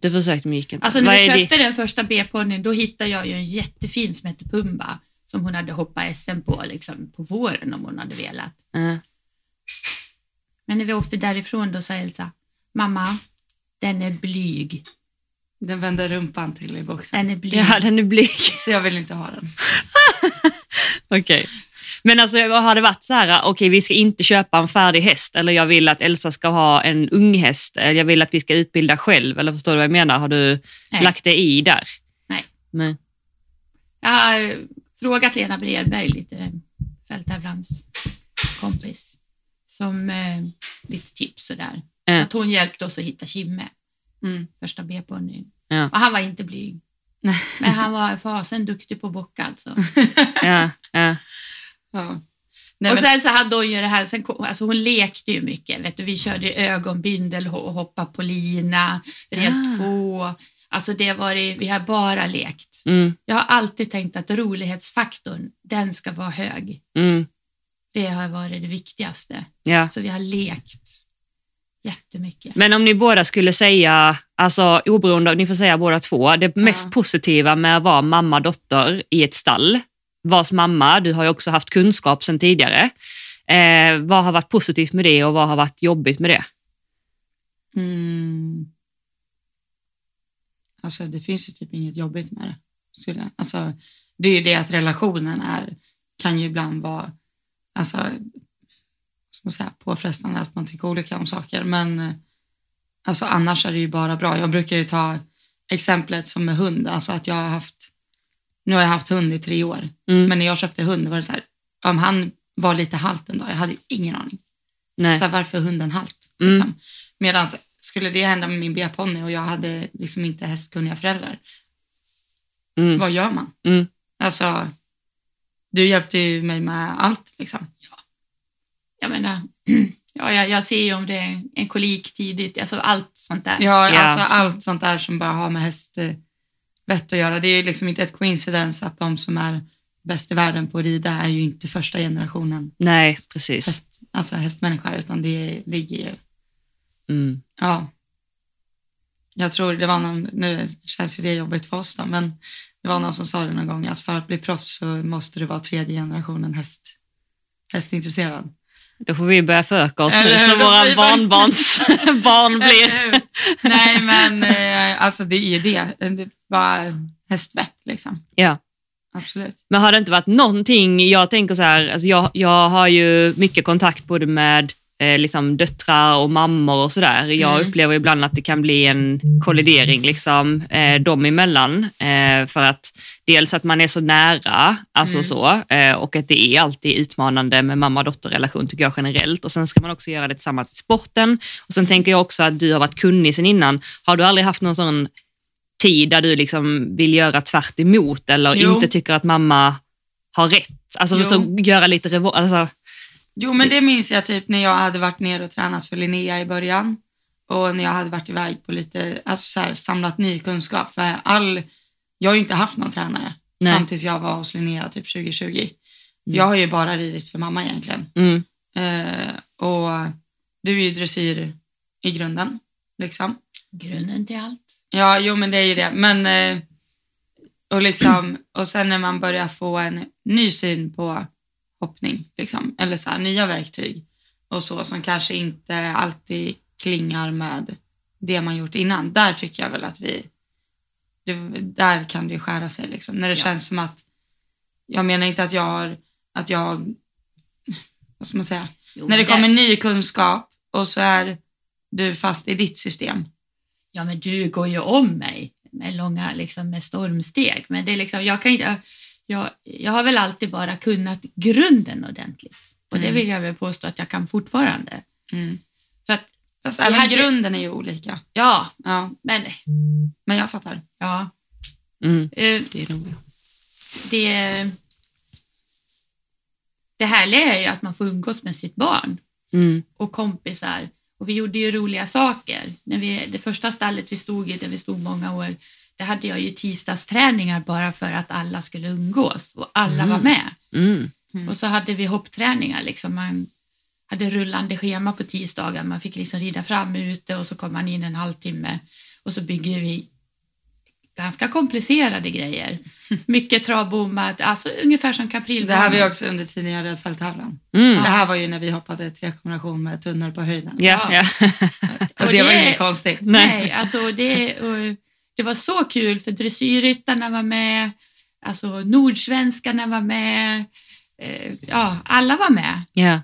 S2: Du försökte men gick inte.
S1: Alltså när
S2: Vad
S1: vi
S2: är det-
S1: köpte den första B-ponnyn, då hittade jag ju en jättefin som hette Pumba som hon hade hoppat SM på liksom, på våren om hon hade velat.
S2: Ja.
S1: Men när vi åkte därifrån då sa Elsa, mamma, den är blyg.
S3: den vänder rumpan till i boxen.
S1: Den är blyg.
S2: Ja, den är blyg.
S3: Så jag vill inte ha den.
S2: Okej. Men alltså, har det varit så här, okej vi ska inte köpa en färdig häst eller jag vill att Elsa ska ha en ung häst eller jag vill att vi ska utbilda själv eller förstår du vad jag menar? Har du
S1: Nej.
S2: lagt det i där?
S1: Nej.
S2: Nej.
S1: Jag har eh, frågat Lena Bredberg, lite fälttävlans kompis, som eh, lite tips sådär.
S2: Mm.
S1: Att hon hjälpte oss att hitta Kimme,
S3: Mm.
S1: första B-ponnyn.
S2: Ja.
S1: Och han var inte blyg. Men han var fasen duktig på alltså. bockad. Så.
S2: Ja, ja.
S3: Ja. Nej,
S1: och
S3: men,
S1: sen så hade hon ju det här, sen kom, alltså hon lekte ju mycket. Vet du, vi körde ju ögonbindel och hoppa på lina, red
S2: Ah.
S1: två. Alltså det var det, vi har bara lekt.
S2: Mm,
S1: Jag har alltid tänkt att rolighetsfaktorn, den ska vara hög.
S2: mm,
S1: Det har varit det viktigaste.
S2: ja.
S1: Så vi har lekt jättemycket.
S2: Men om ni båda skulle säga, alltså oberoende, ni får säga båda två, det mest
S3: Ja.
S2: positiva med att vara mamma dotter i ett stall, vars mamma, du har ju också haft kunskap sedan tidigare, eh, vad har varit positivt med det och vad har varit jobbigt med det?
S3: mm. Alltså det finns ju typ inget jobbigt med det. Skulle, jag- alltså, det är ju det att relationen är, kan ju ibland vara alltså, som säga, påfrestande att man tycker olika om saker. Men eh, alltså, annars är det ju bara bra. Jag brukar ju ta exemplet som med hund. Alltså att jag har haft, nu har jag haft hund i tre år.
S2: Mm.
S3: Men när jag köpte hund var det så här, om han var lite halt en dag, jag hade ju ingen aning.
S2: Nej.
S3: Så här, varför är hunden halt?
S2: Mm.
S3: Liksom. Medan skulle det hända med min B-ponny och jag hade liksom inte hästkunniga föräldrar,
S2: Mm.
S3: vad gör man?
S2: Mm.
S3: Alltså, du hjälpte ju mig med allt. Liksom.
S1: Jag menar, ja, jag, jag ser ju om det är en kolik tidigt, alltså allt sånt där.
S3: Ja,
S2: Ja.
S3: Alltså, allt sånt där som bara har med hästvett att göra. Det är ju liksom inte ett coincidence att de som är bäst i världen på att rida är ju inte första generationen
S2: Nej, precis.
S3: häst, alltså hästmänniska, utan det ligger ju
S2: Mm.
S3: Ja. Jag tror det var någon, nu känns ju det jobbigt för oss då, men det var någon som sa det någon gång att för att bli proffs så måste du vara tredje generationen häst, hästintresserad.
S2: Då får vi börja föröka oss
S3: Eller
S2: nu
S3: hur?
S2: så
S3: Då får
S2: våra
S3: vi
S2: barnbarns barn blir...
S3: Eller hur? Nej men eh, alltså det är ju det, det är bara hästvett liksom.
S2: Ja.
S3: Absolut.
S2: Men har det inte varit någonting, jag tänker så här, alltså jag, jag har ju mycket kontakt både med eh, liksom döttrar och mammor och sådär. Jag
S3: Mm.
S2: upplever ibland att det kan bli en kollidering liksom, eh, dem emellan. Eh, för att dels att man är så nära alltså
S3: Mm.
S2: så, eh, och att det är alltid utmanande med mamma-dotter-relation tycker jag generellt. Och sen ska man också göra det tillsammans i sporten. Och sen tänker jag också att du har varit kunnig sen innan. Har du aldrig haft någon sån tid där du liksom vill göra tvärt emot eller
S3: Jo.
S2: inte tycker att mamma har rätt. Alltså
S3: Jo.
S2: förstå, göra lite revolt. Alltså,
S3: Jo men det minns jag typ när jag hade varit ner och tränat för Linnea i början och när jag hade varit iväg på lite, alltså så här, samlat ny kunskap för all, jag har ju inte haft någon tränare
S2: Nej.
S3: fram tills jag var hos Linnea typ 2020. Jag har ju bara ridit för mamma egentligen
S2: mm,
S3: eh, och du är ju dressyr i grunden liksom.
S1: Grunden till allt.
S3: Ja, jo men det är ju det. Men, eh, och, liksom, och sen när man börjar få en ny syn på hoppning, liksom, eller så här, nya verktyg och så som kanske inte alltid klingar med det man gjort innan. Där tycker jag väl att vi, det, där kan det ju skära sig liksom. När det
S1: Ja.
S3: känns som att, jag menar inte att jag har, att jag, har- vad ska man säga,
S1: Jo,
S3: när det
S1: men
S3: kommer ny kunskap och så är du fast i ditt system.
S1: Ja, men du går ju om mig med långa liksom, med stormsteg. Men det är liksom, jag, kan inte, jag, jag har väl alltid bara kunnat grunden ordentligt. Och det
S3: Mm.
S1: vill jag väl påstå att jag kan fortfarande.
S3: Mm.
S1: För att,
S3: Fast Alltså,
S1: Vi
S3: även
S1: hade-
S3: grunden är ju olika.
S1: ja,
S3: Ja,
S1: men
S3: men jag fattar.
S1: ja.
S2: mm,
S1: eh,
S2: det är nog
S1: det... det härliga är ju att man får umgås med sitt barn
S2: Mm.
S1: och kompisar. Och vi gjorde ju roliga saker. När vi, det första stallet vi stod i, där vi stod många år, det hade jag ju tisdagsträningar bara för att alla skulle umgås och alla
S2: Mm.
S1: var med.
S2: Mm.
S3: Mm.
S1: Och så hade vi hoppträningar. Liksom. Man hade rullande schema på tisdagar. Man fick liksom rida fram ute och så kom man in en halvtimme. Och så bygger vi ganska komplicerade grejer. Mycket travbommar, alltså ungefär som
S3: Det här var ju
S1: kaprilbanan.
S3: också under tiden jag red fälttävlan. Så
S2: Mm.
S3: det här var ju när vi hoppade trekombination med tunnor på höjden.
S2: Ja, ja.
S3: Och
S1: Och
S3: det var
S1: det-
S3: inget konstigt.
S1: Nej, alltså det, och det var så kul för dressyrryttarna var med, alltså nordsvenskarna var med, eh, ja, alla var med.
S2: ja.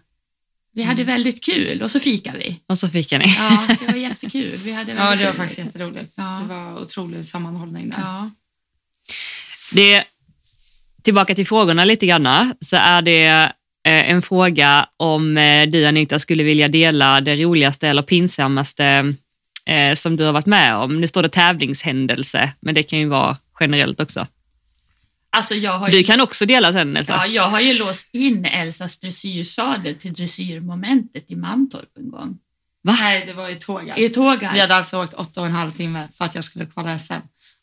S1: Vi hade väldigt kul och så fikade vi.
S2: Och så fick jag ni.
S1: Ja, det var jättekul. Vi hade
S3: Ja,
S1: väldigt
S3: det var
S1: kul.
S3: faktiskt jätteroligt.
S1: Ja.
S3: Det var otrolig sammanhållning där.
S1: Ja.
S2: Det, tillbaka till frågorna lite grann, så är det eh, en fråga om eh, du Anita skulle vilja dela det roligaste eller pinsammaste eh, som du har varit med om. Nu står det tävlingshändelse, men det kan ju vara generellt också.
S1: Alltså jag har,
S2: Du
S1: ju,
S2: kan också dela sen Elsa.
S1: ja, jag har ju låst in Elsas dressyrsadel till dressyrmomentet i Mantorp en gång.
S3: Nej, det var i tågar.
S1: I tågar.
S3: Vi hade alltså åkt åtta och en halv timme för att jag skulle kvala SM.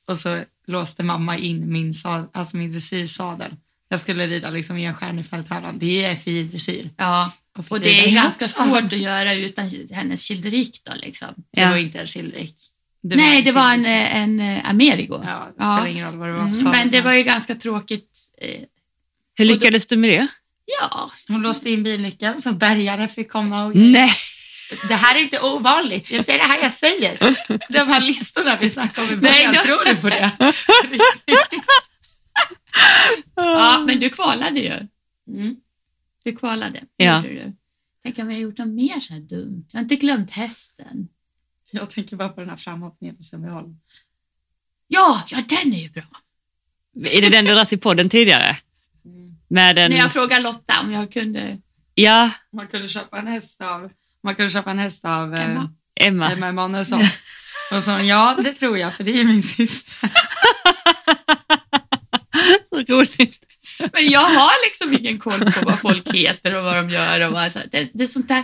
S3: Och så låste mamma in min, sa- alltså min dressyrsadel. Jag skulle rida liksom i en stjärnefälttävlan. Det är FI dressyr.
S1: Ja,
S3: Och, fick
S1: och
S3: rida
S1: det är
S3: i
S1: ganska
S3: sadeln.
S1: svårt att göra utan hennes kilderik då liksom.
S3: Det
S2: Ja.
S3: var inte en chilrik.
S1: Nej, det var en, eh, en eh, Amerigo.
S3: Ja, det
S1: Ja.
S3: spelar ingen roll vad det var för
S1: Mm,
S3: sadel.
S1: men det var ju ganska tråkigt. eh,
S2: Hur lyckades du med det?
S1: Ja,
S3: Hon låste in bilnyckeln så bärgare fick komma
S1: Mm.
S3: och...
S2: Nej.
S3: Det här är inte ovanligt. Det är det här jag säger. De här listorna vi snackade om i
S1: Nej,
S3: början,
S1: då-
S3: tror du på det?
S1: ja, men du kvalade ju.
S3: Mm.
S1: Du kvalade.
S2: Ja.
S1: gjorde Du. Tänk om jag gjort något mer så här dumt. Jag har inte glömt hästen.
S3: Jag tänker bara på den här framhoppningen på Sundbyholm.
S1: Ja, ja den är ju bra.
S2: Är det den du dragit i podden tidigare?
S3: Mm.
S2: Med den...
S1: När jag frågade Lotta om jag kunde...
S2: Ja,
S3: Man kunde köpa en häst av, man kunde köpa en häst av
S1: Emma.
S2: Emma.
S3: Eh, Emma Emanuelsson. Och sa hon, ja det tror jag för det är ju min syster.
S2: Roligt.
S1: Men jag har liksom ingen koll på vad folk heter och vad de gör. Och vad, så det, det är sånt där.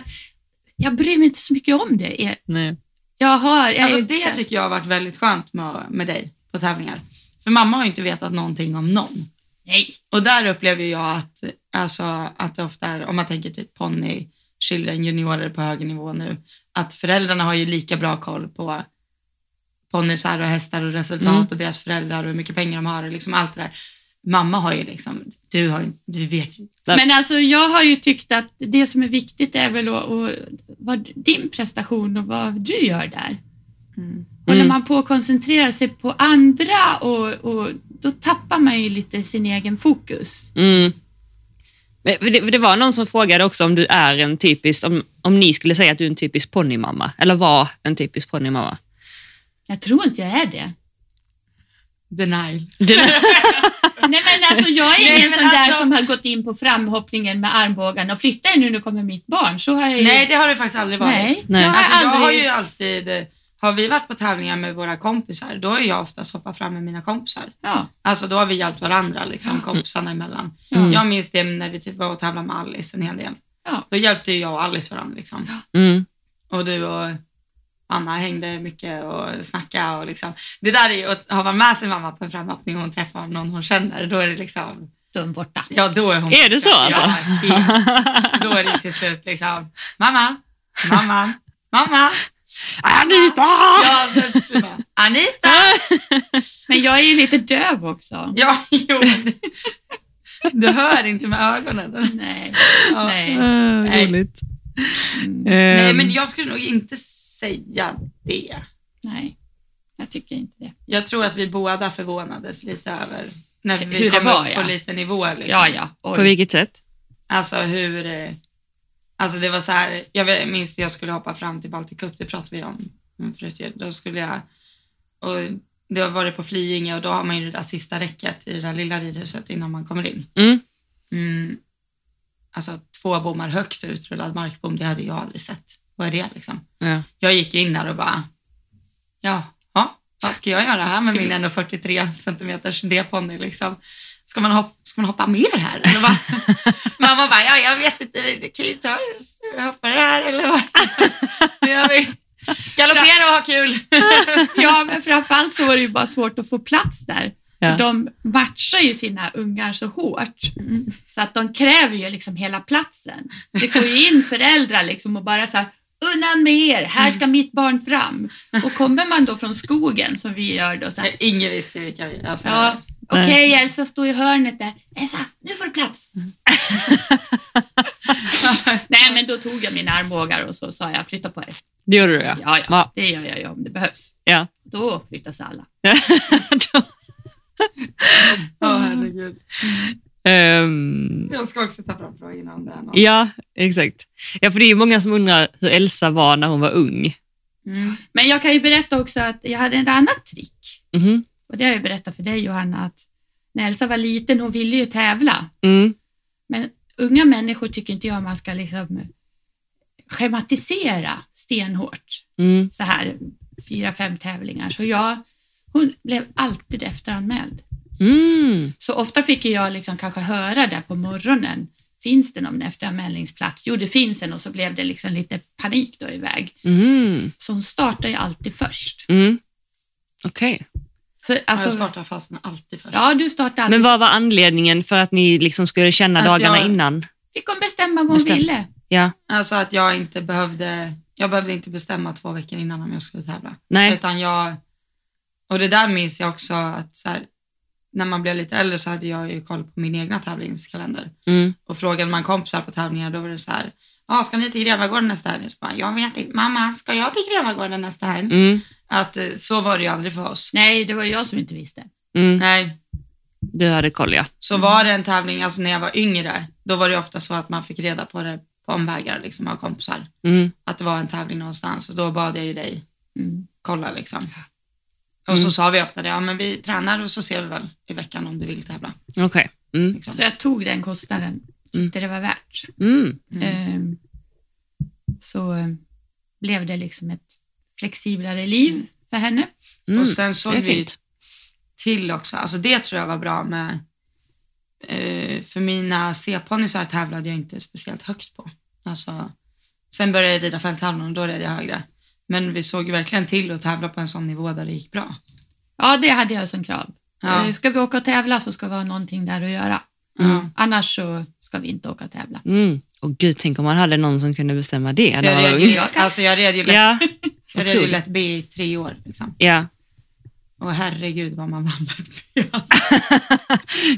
S1: Jag bryr mig inte så mycket om det. Jag-
S2: Nej.
S1: Jag har... Jag
S3: Alltså,
S1: är-
S3: det tycker jag har varit väldigt skönt med, med dig på tävlingar. För mamma har ju inte vetat någonting om någon.
S1: Nej.
S3: Och där upplever jag att, alltså, att det ofta är, om man tänker typ ponny, children, juniorer på hög nivå nu, att föräldrarna har ju lika bra koll på ponnysar och hästar och resultat
S2: Mm.
S3: och deras föräldrar och hur mycket pengar de har och liksom allt det där. Mamma har ju liksom, du, har, ju- du vet ju.
S2: Där.
S1: Men alltså, jag har ju tyckt att det som är viktigt är väl att, att, vad din prestation och vad du gör där. Håller
S2: Mm.
S1: man på att koncentrera sig på andra och, och då tappar man ju lite sin egen fokus.
S2: Mm. Men för det, för det var någon som frågade också om du är en typisk, om, om ni skulle säga att du är en typisk ponnymamma, eller var en typisk ponnymamma.
S1: Jag tror inte jag är det.
S3: Denial.
S1: Mm.
S2: Du-
S1: Nej men alltså jag är
S3: Nej,
S1: ingen
S3: men
S1: sån där
S3: alltså-
S1: som har gått in på framhoppningen med armbågarna och flytta er nu, nu kommer mitt barn. Så har jag ju...
S3: Nej, det har det faktiskt aldrig varit.
S1: Nej,
S2: Nej.
S1: jag har
S3: Alltså, jag
S1: aldrig...
S3: har ju alltid, eh, har vi varit på tävlingar med våra kompisar, då har jag oftast hoppat fram med mina kompisar.
S1: Ja,
S3: Alltså då har vi hjälpt varandra,
S2: Mm.
S3: liksom, kompisarna emellan.
S1: Ja.
S3: Jag minns det när vi typ var och tävlade med Alice en hel del.
S1: Ja.
S3: Då hjälpte ju jag och Alice varandra. Liksom.
S2: Mm.
S3: Och du och Anna hängde mycket och snackade. Och liksom. Det där är ju, att har man med sin mamma på en framhoppning och hon träffar någon hon känner, då är det liksom,
S1: då är hon borta.
S3: ja då är hon
S2: Är det så, alltså?
S3: Ja, helt. då är det till slut liksom, mamma, mamma, mamma.
S2: Anita!
S3: Ja, sen till slut bara, Anita!
S1: Men jag är ju lite döv också.
S3: Ja, jo. men du- Du hör inte med ögonen.
S1: Nej,
S3: Ja.
S1: nej.
S2: Eh,
S3: Nej. Mm.
S2: roligt.
S3: Nej,
S2: Ehm,
S3: men jag skulle nog inte säga det.
S1: nej, jag tycker inte det.
S3: Jag tror att vi båda förvånades lite över när vi
S1: Hur det
S3: kom
S1: var,
S3: upp
S1: ja.
S3: på lite nivåer. Liksom.
S1: Ja, ja.
S2: På
S1: Oj.
S2: vilket sätt?
S3: Alltså hur... eh, Alltså det var så här, jag vet- minns när jag skulle hoppa fram till Balticup, det pratade vi om mm, förut. ju. Då skulle jag... Och det var varit på Flyinge och då har man ju det där sista räcket i det där lilla ridhuset innan man kommer in.
S2: Mm.
S3: Mm. Alltså två bommar högt utrullad markbom, det hade jag aldrig sett. Vad är det liksom?
S2: Ja.
S3: jag gick in där och bara, ja, ja vad ska jag göra här med min 1,43 centimeters D-ponny liksom? ska man hoppa, ska man hoppa mer här? Eller vad? Mamma bara, ja, jag vet inte, det kan ju ta, hoppa det här eller vad? Nu gör vi. Galoppera och ha kul.
S1: Ja, men framförallt så var det ju bara svårt att få plats där.
S2: Ja.
S1: För de matchar ju sina ungar så hårt
S2: Mm.
S1: så att de kräver ju liksom hela platsen. Det går ju in föräldrar liksom och bara så här, undan med er,
S2: Mm.
S1: här ska mitt barn fram. Och kommer man då från skogen som vi gör då så här,
S3: Ingen visste vilka vi alltså,
S1: ja, okej Elsa stå i hörnet där, Elsa nu får du plats.
S2: Mm.
S1: Nej men då tog jag mina armbågar och så sa jag flytta på er.
S2: Det gjorde du ja.
S1: Ja, ja,
S2: Ja.
S1: det gör jag ju om det behövs.
S2: ja.
S1: Då flyttas alla.
S3: Åh, herregud.
S2: Ehm,
S3: Jag ska också ta fram frågan om den.
S2: ja, exakt. Ja, för det är ju många som undrar hur Elsa var när hon var ung.
S3: Mm.
S1: Men jag kan ju berätta också att jag hade ett annat trick.
S2: Mhm.
S1: Och det har jag ju berättat för dig Johanna att när Elsa var liten, hon ville ju tävla.
S2: Mm.
S1: Men unga människor tycker inte jag man ska liksom schematisera stenhårt.
S2: Mm.
S1: Så här fyra, fem tävlingar. Så jag, hon blev alltid efteranmäld.
S2: Mm.
S1: Så ofta fick ju jag liksom kanske höra där på morgonen, finns det någon efteranmälningsplats? Jo, det finns en och så blev det liksom lite panik då iväg.
S2: Mm.
S1: Så hon startar ju alltid först.
S2: Mm. Okej.
S1: Så,
S3: jag
S1: alltså,
S3: startar fasen alltid först.
S1: ja, du startar alltid.
S2: Men vad var anledningen för att ni liksom skulle känna
S3: Att
S2: dagarna
S3: jag-
S2: innan?
S1: Fick hon bestämma vad hon
S2: Bestäm-
S1: ville?
S2: Ja.
S3: Alltså att jag inte behövde, jag behövde inte bestämma två veckor innan om jag skulle tävla.
S2: Nej.
S3: Utan jag, och det där minns jag också att så här, när man blev lite äldre så hade jag ju koll på min egna tävlingskalender.
S2: Mm.
S3: Och frågade man kompisar på tävlingar då var det så här, ja ska ni till Grevagården nästa helg? Och så bara, Jag vet inte, mamma ska jag till Grevagården nästa helg?
S2: Mm.
S3: Att eh, så var det ju aldrig för oss.
S1: Nej, det var jag som inte visste.
S2: Mm.
S3: Nej,
S2: Du hade koll ja.
S3: Så var det en tävling, alltså när jag var yngre, då var det ofta så att man fick reda på det på omvägar liksom, av kompisar.
S2: Mm.
S3: Att det var en tävling någonstans och då bad jag ju dig
S1: Mm.
S3: kolla liksom. Och
S2: Mm.
S3: så sa vi ofta det, ja men vi tränar och så ser vi väl i veckan om du vill tävla.
S2: Okej. Mm.
S3: Liksom.
S1: Så jag tog den kostnaden, tyckte det var värt.
S2: Mm.
S1: Ehm, Så ehm, blev det liksom ett flexiblare liv för henne.
S2: Mm.
S3: Och sen såg
S2: det är
S3: vi
S2: fint.
S3: till också, alltså det tror jag var bra med, eh, för mina C-ponnysar tävlade jag inte speciellt högt på. Alltså, sen började jag rida fälttävlan och då red jag högre. Men vi såg ju verkligen till att tävla på en sån nivå där det gick bra.
S1: Ja, det hade jag som krav.
S3: Ja.
S1: Ehm, Ska vi åka och tävla så ska vi ha någonting där att göra.
S3: Ja.
S1: Annars så ska vi inte åka och tävla.
S2: Mm. Och gud, tänk om man hade någon som kunde bestämma det
S3: Så
S2: när
S3: jag,
S2: man var
S3: red ju,
S2: ung.
S1: Jag kan-
S3: alltså jag red ju lätt,
S2: Ja.
S3: jag red ju
S2: otroligt.
S3: lätt B i tre år. Liksom.
S2: ja.
S3: Och herregud vad man vann lätt B. Alltså.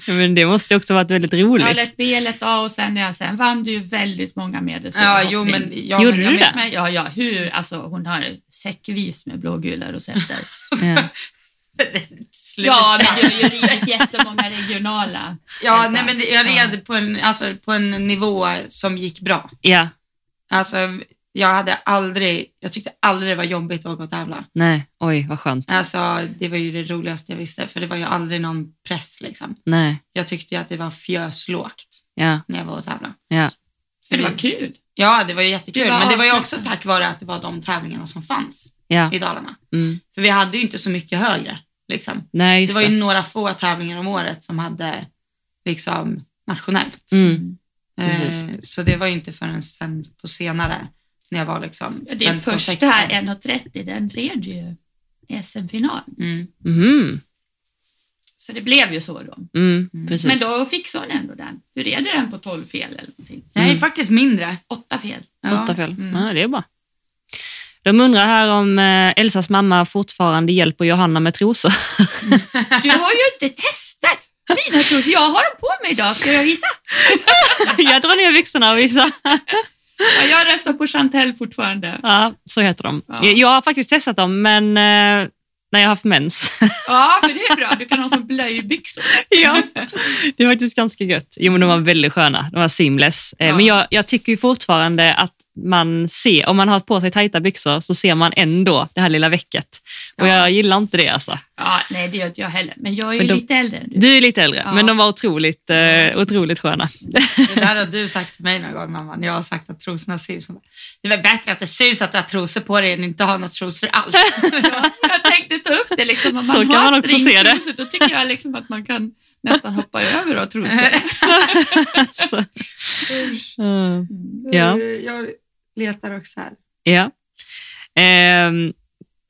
S2: Ja, Men det måste ju också varit väldigt
S1: Jag har
S2: roligt.
S1: lätt B, lätt A och sen, när jag sen vann du ju väldigt många medel.
S3: Ja, jo, men, ja,
S2: Gjorde
S3: men jag
S2: du
S3: vet-
S2: det?
S1: Men ja, ja, hur, alltså hon har säckvis med blågula rosetter.
S2: Ja.
S3: Slut. Ja,
S1: ja, men Alltså. jag har ju ridit jättemånga regionala.
S3: ja
S1: Elsa.
S3: nej, men det- jag red På, en, alltså, på en nivå som gick bra.
S2: ja.
S3: Alltså, jag hade aldrig, jag tyckte aldrig det var jobbigt att åka och tävla.
S2: Nej, oj vad skönt.
S3: Alltså, det var ju det roligaste jag visste, för det var ju aldrig någon press liksom.
S2: Nej,
S3: Jag tyckte ju att det var fjöslågt
S2: ja,
S3: när jag var och tävlade.
S2: ja.
S1: För det var kul.
S3: Ja, det var ju jättekul,
S1: Det var
S3: men det var ju också
S1: avslappnat.
S3: tack vare att det var de tävlingarna som fanns
S2: ja.
S3: i Dalarna.
S2: Mm.
S3: För vi hade ju inte så mycket högre. Liksom.
S2: Nej,
S3: Det
S2: just
S3: var
S2: det.
S3: ju några få tävlingar om året som hade liksom, nationellt.
S2: Mm.
S3: Eh, så det var ju inte förrän sen på senare när jag var liksom
S1: Ja, Din
S3: 15,
S1: första
S3: 16.
S1: 1.30, den red ju SM-finalen.
S3: Mm.
S2: Mhm.
S1: Så det blev ju så då.
S2: Mm. Precis.
S1: Men då fixade hon ändå den. Hur red du den på 12 fel eller någonting?
S3: Nej, faktiskt mindre.
S1: 8 fel.
S3: Ja.
S2: Åtta fel.
S1: Mm.
S2: Ja, det är bra. De undrar här om eh, Elsas mamma fortfarande hjälper Johanna med trosor.
S1: Du har ju inte testat mina trosor. Jag har dem på mig idag. Ska jag visa?
S2: jag drar ner byxorna och visar.
S1: Ja, jag röstar på Chantel fortfarande.
S2: Ja, så heter de.
S1: Ja.
S2: Jag, jag har faktiskt testat dem, men eh, när jag har haft mens.
S1: Ja, men det är bra. Du kan ha som blöjbyxor.
S2: ja. Det är faktiskt ganska gött. Jo, men de var väldigt sköna. De var seamless. Eh,
S1: Ja.
S2: Men jag, jag tycker ju fortfarande att man ser, om man har på sig tajta byxor så ser man ändå det här lilla vecket. Och
S1: Ja.
S2: jag gillar inte det alltså.
S1: Ja, nej, det gör inte jag heller. Men jag är ju
S2: Men de-
S1: lite äldre än du.
S2: Du är lite äldre,
S1: Ja.
S2: men de var otroligt, eh, otroligt sköna.
S3: Det där har du sagt till mig någon gång mamma, när jag har sagt att trosorna syns. Hon bara, Det är väl bättre att det syns att du har trosor på dig än inte ha några trosor alls.
S1: Jag tänkte ta upp det liksom. Om man
S2: Så kan
S1: har
S2: man också se det.
S1: stringtrosor, Då tycker jag liksom att man kan nästan hoppar över då, trosor.
S2: Alltså,
S3: Usch.
S2: mm. Ja.
S3: Jag letar också här.
S2: Ja. Ehm,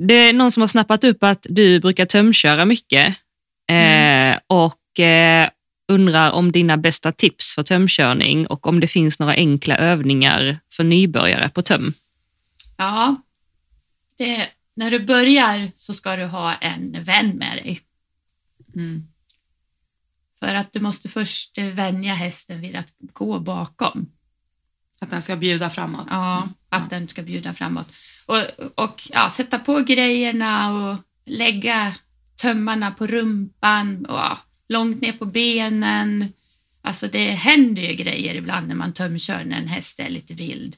S2: det är någon som har snappat upp att du brukar tömköra mycket eh, och eh, undrar om dina bästa tips för tömkörning och om det finns några enkla övningar för nybörjare på töm.
S1: Ja, det, när du börjar så ska du ha en vän med dig.
S3: Mm.
S1: För att du måste först eh, vänja hästen vid att gå bakom.
S3: Att den ska bjuda framåt.
S1: Ja, att den ska bjuda framåt. Och, och ja, sätta på grejerna och lägga tömmarna på rumpan och ja, långt ner på benen. Alltså det händer ju grejer ibland när man tömkör när en häst är lite vild.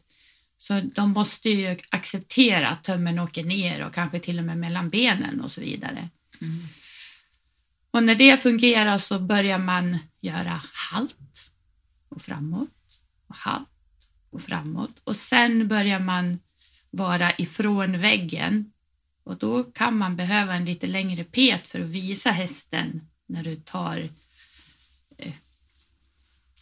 S1: Så de måste ju acceptera att tömmen åker ner och kanske till och med mellan benen och så vidare.
S3: Mm.
S1: Och när det fungerar så börjar man göra halt och framåt och halt och framåt och sen börjar man vara ifrån väggen och då kan man behöva en lite längre pet för att visa hästen när du tar eh,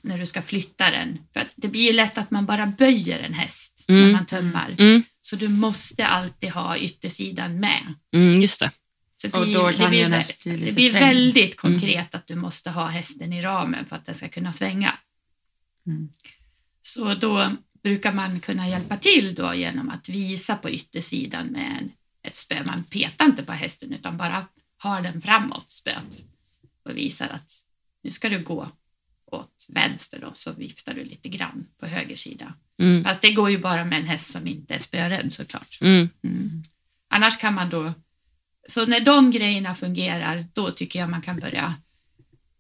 S1: när du ska flytta den. För att det blir ju lätt att man bara böjer en häst
S2: Mm.
S1: när man tömmar.
S2: Mm,
S1: Så du måste alltid ha yttersidan med.
S2: mm, just det.
S1: Så det
S3: Och
S1: blir-
S3: då
S1: det
S3: kan
S1: blir
S3: ju en
S1: vä-
S3: häst bli
S1: det
S3: lite
S1: blir
S3: trängd. Mm.
S1: väldigt konkret att du måste ha hästen i ramen för att den ska kunna svänga.
S3: Mm.
S1: Så då brukar man kunna hjälpa till då genom att visa på yttersidan med en, ett spö. Man petar inte på hästen utan bara har den framåt spöet och visar att nu ska du gå åt vänster då så viftar du lite grann på höger sida.
S2: Mm,
S1: Fast det går ju bara med en häst som inte är spörädd såklart.
S2: mm,
S1: Mm. Annars kan man då, så när de grejerna fungerar, då tycker jag man kan börja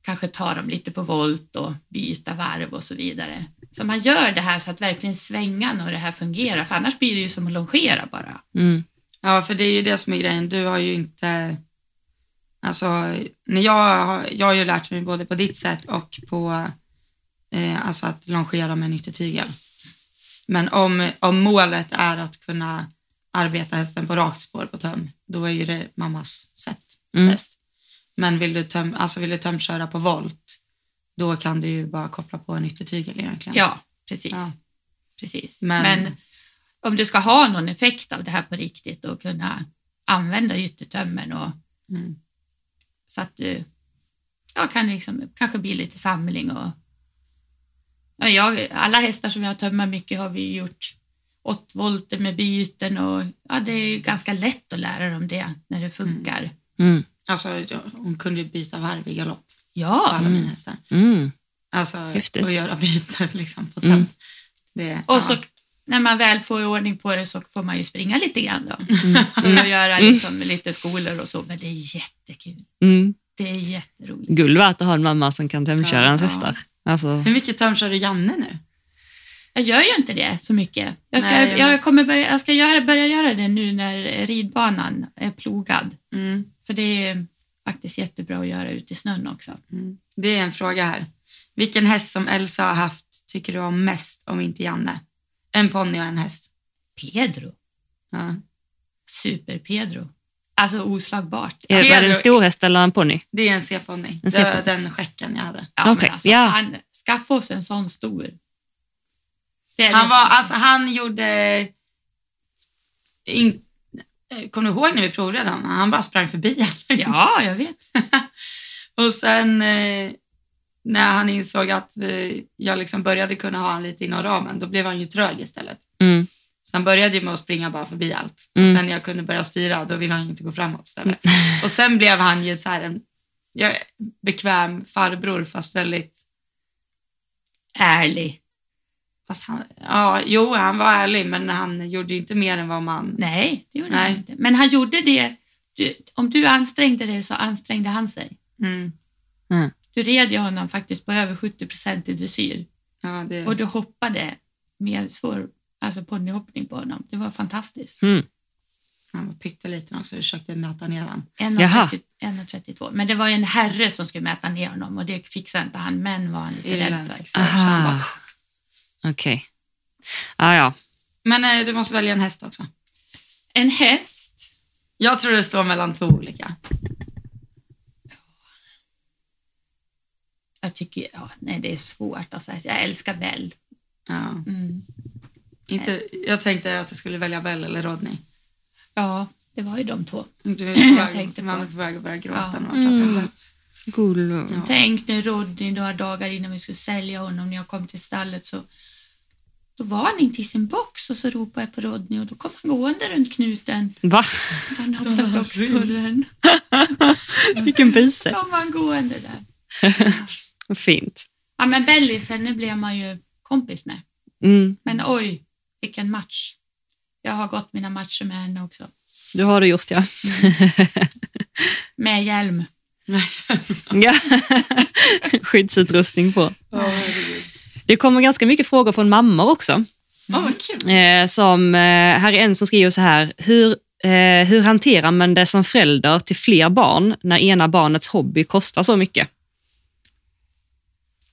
S1: kanske ta dem lite på volt och byta varv och så vidare. Så man gör det här så att verkligen svängarna och det här fungerar, för annars blir det ju som att longera bara.
S2: mm,
S3: Ja, för det är ju det som är grejen. Du har ju inte... Alltså, när jag, har, jag har ju lärt mig både på ditt sätt och på eh, alltså att longera med en yttertygel. Men om, om målet är att kunna arbeta hästen på rakt spår på töm, då är ju det mammas sätt
S2: Mm.
S3: bäst. Men vill du, töm, alltså vill du tömköra på volt, då kan du ju bara koppla på en yttertygel egentligen.
S1: Ja, precis.
S3: Ja.
S1: precis. Men,
S3: Men-
S1: om du ska ha någon effekt av det här på riktigt och kunna använda yttertömmen och
S3: Mm.
S1: så att du ja, kan liksom, kanske bli lite samling. Och, ja, jag, alla hästar som jag tömmer mycket har vi ju gjort åt volter med byten och ja, det är ju ganska lätt att lära dem det när det funkar.
S2: mm,
S3: Alltså, jag- hon kunde ju byta varv i galopp på
S1: Ja,
S3: alla
S2: Mm.
S3: mina hästar.
S2: mm,
S3: Alltså,
S2: Häftigt.
S3: och göra byten liksom, på töm.
S2: Mm.
S3: Det,
S1: och
S3: ja.
S1: så när man väl får ordning på det så får man ju springa lite grann då.
S2: mm,
S1: För att göra liksom lite skolor och så, men det är jättekul.
S2: mm.
S1: Det är jätteroligt.
S2: Guld värt att ha en mamma som kan tömköra ens
S1: Ja.
S2: hästar. Alltså,
S3: Hur mycket töm kör du Janne nu?
S1: Jag gör ju inte det så mycket. Jag ska,
S3: Nej, jag-
S1: jag kommer börja, jag ska göra, börja göra det nu när ridbanan är plogad.
S3: Mm,
S1: För det är faktiskt jättebra att göra ute i snön också.
S3: Mm. Det är en fråga här. Vilken häst som Elsa har haft tycker du om mest, om inte Janne? En ponny och en häst.
S1: Pedro.
S3: Ja.
S1: Super-Pedro. Alltså oslagbart.
S2: är
S3: Det
S2: var
S3: är
S2: det en
S3: då-
S2: stor häst eller en ponny?
S3: Det är en C-ponny.
S2: En
S3: Det var
S2: C-ponny.
S3: Den skäcken jag hade.
S1: Ja,
S2: Okej,
S1: men alltså,
S2: ja.
S1: han, skaffa oss en sån stor. Det är
S3: Han,
S1: det.
S3: var, alltså, han gjorde... In... eh, Kommer du ihåg när vi provade den? Han bara sprang förbi alla.
S1: Ja, jag vet.
S3: Och sen eh, när han insåg att eh, jag liksom började kunna ha han lite inom ramen, då blev han ju trög istället.
S2: Mm,
S3: Så han började ju med att springa bara förbi allt.
S2: Mm.
S3: Och sen när jag kunde börja styra, då ville han ju inte gå framåt istället. Och sen blev han ju så här en ja, bekväm farbror, fast väldigt...
S1: Ärlig.
S3: Fast han, ja, jo, han var ärlig, men han gjorde ju inte mer än vad man...
S1: Nej, det gjorde
S3: Nej.
S1: han inte. Men han gjorde det. Du, om du ansträngde dig så ansträngde han sig.
S3: Mm,
S1: Du red ju honom faktiskt på över 70 procent i dressyr
S3: ja, det,
S1: och du hoppade med svår alltså ponnyhoppning på honom. Det var fantastiskt.
S2: mm.
S3: han var pytteliten också, försökte mäta ner han.
S2: Jaha.
S1: 1,30 1,32. Men det var ju en herre som skulle mäta ner honom och det fixade inte han. Män var han lite rädd för.
S3: Irländsk. så han
S2: Aha,
S3: bara-
S2: okej. Ah, ja,
S3: Men eh, du måste välja en häst också.
S1: En häst.
S3: Jag tror det står mellan två olika.
S1: jag tycker, ja, nej det är svårt. Alltså, jag älskar Bell.
S3: Ja.
S1: Mm.
S3: Inte, jag tänkte att jag skulle välja Bell eller Rodney.
S1: Ja, det var ju de två.
S3: Du är på
S1: Jag
S3: väg,
S1: tänkte på-
S3: man är på väg att börja gråta
S1: Ja.
S3: när man
S2: Mm.
S3: pratar om det.
S2: Gull.
S3: Mm. Ja.
S1: Tänk när Rodney några dagar innan vi skulle sälja honom, när jag kom till stallet så då var han inte i sin box och så ropade jag på Rodney och då kom han gående runt knuten.
S2: Va?
S1: Han hoppade boxdörren.
S2: Vilken bise.
S1: Kom han gående där.
S2: Fint.
S1: Ja men Bellis, henne blev man ju kompis med.
S2: Mm.
S1: Men oj, vilken match. Jag har gått mina matcher med henne också.
S2: Du har det gjort, ja.
S1: Med hjälm.
S2: ja. Skyddsutrustning på.
S3: Åh, herregud.
S2: Det kommer ganska mycket frågor från mammor också.
S3: Åh, vad kul.
S2: Eh, som, eh, här är en som skriver så här. Hur, eh, hur hanterar man det som förälder till fler barn när ena barnets hobby kostar så mycket?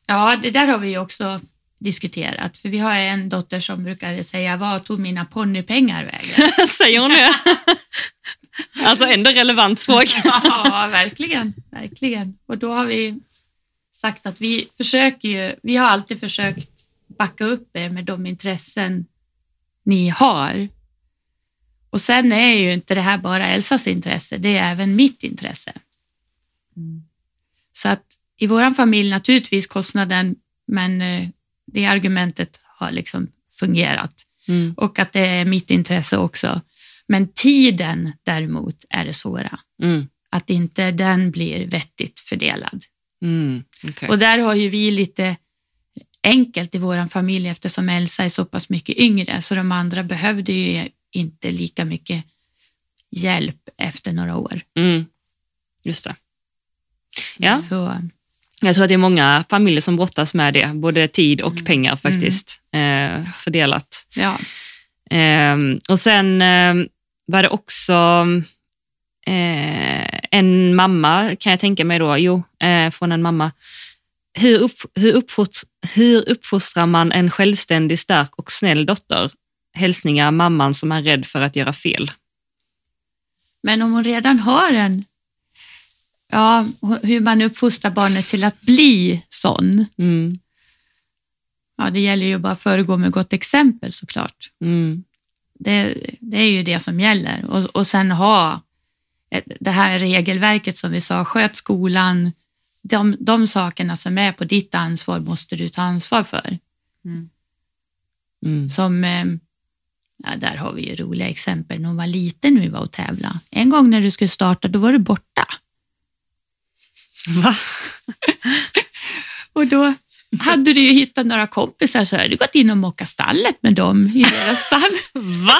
S1: Ja, det där har vi ju också diskuterat. För vi har en dotter som brukade säga, vad tog mina ponnypengar vägen?
S2: Säger hon det? alltså ändå relevant fråga.
S1: ja, verkligen. verkligen. Och då har vi sagt att vi försöker ju, vi har alltid försökt backa upp er med de intressen ni har. Och sen är ju inte det här bara Elsas intresse, det är även mitt intresse. Så att i vår familj naturligtvis kostnaden, men eh, det argumentet har liksom fungerat.
S2: Mm.
S1: Och att det är mitt intresse också. Men tiden däremot är det svåra.
S2: Mm.
S1: Att inte den blir vettigt fördelad.
S2: Mm. okej.
S1: Och där har ju vi lite enkelt i vår familj eftersom Elsa är så pass mycket yngre så de andra behövde ju inte lika mycket hjälp efter några år.
S2: Mm. Just det. Ja,
S1: Så,
S2: jag tror att det är många familjer som brottas med det, både tid och pengar faktiskt, eh, fördelat.
S1: ja.
S2: Ehm, och sen ehm, var det också eh, en mamma, kan jag tänka mig då, jo, eh, från en mamma. Hur, upp, hur, uppfost, hur uppfostrar man en självständig, stark och snäll dotter? Hälsningar mamman som är rädd för att göra fel.
S1: Men om hon redan har en, ja, hur man uppfostrar barnet till att bli sån.
S2: Mm,
S1: Ja, det gäller ju bara att föregå med gott exempel såklart.
S2: mm,
S1: Det, det är ju det som gäller. Och, och sen ha ett- det här regelverket som vi sa, sköt skolan. De, de sakerna som är på ditt ansvar måste du ta ansvar för.
S2: mm.
S1: Som, eh, ja, där har vi ju roliga exempel. När hon var liten när vi var och tävla. En gång när du skulle starta, då var du borta.
S2: Va?
S1: Och då hade du ju hittat några kompisar så hade du gått in och mockat stallet med dem i deras stall.
S2: Va?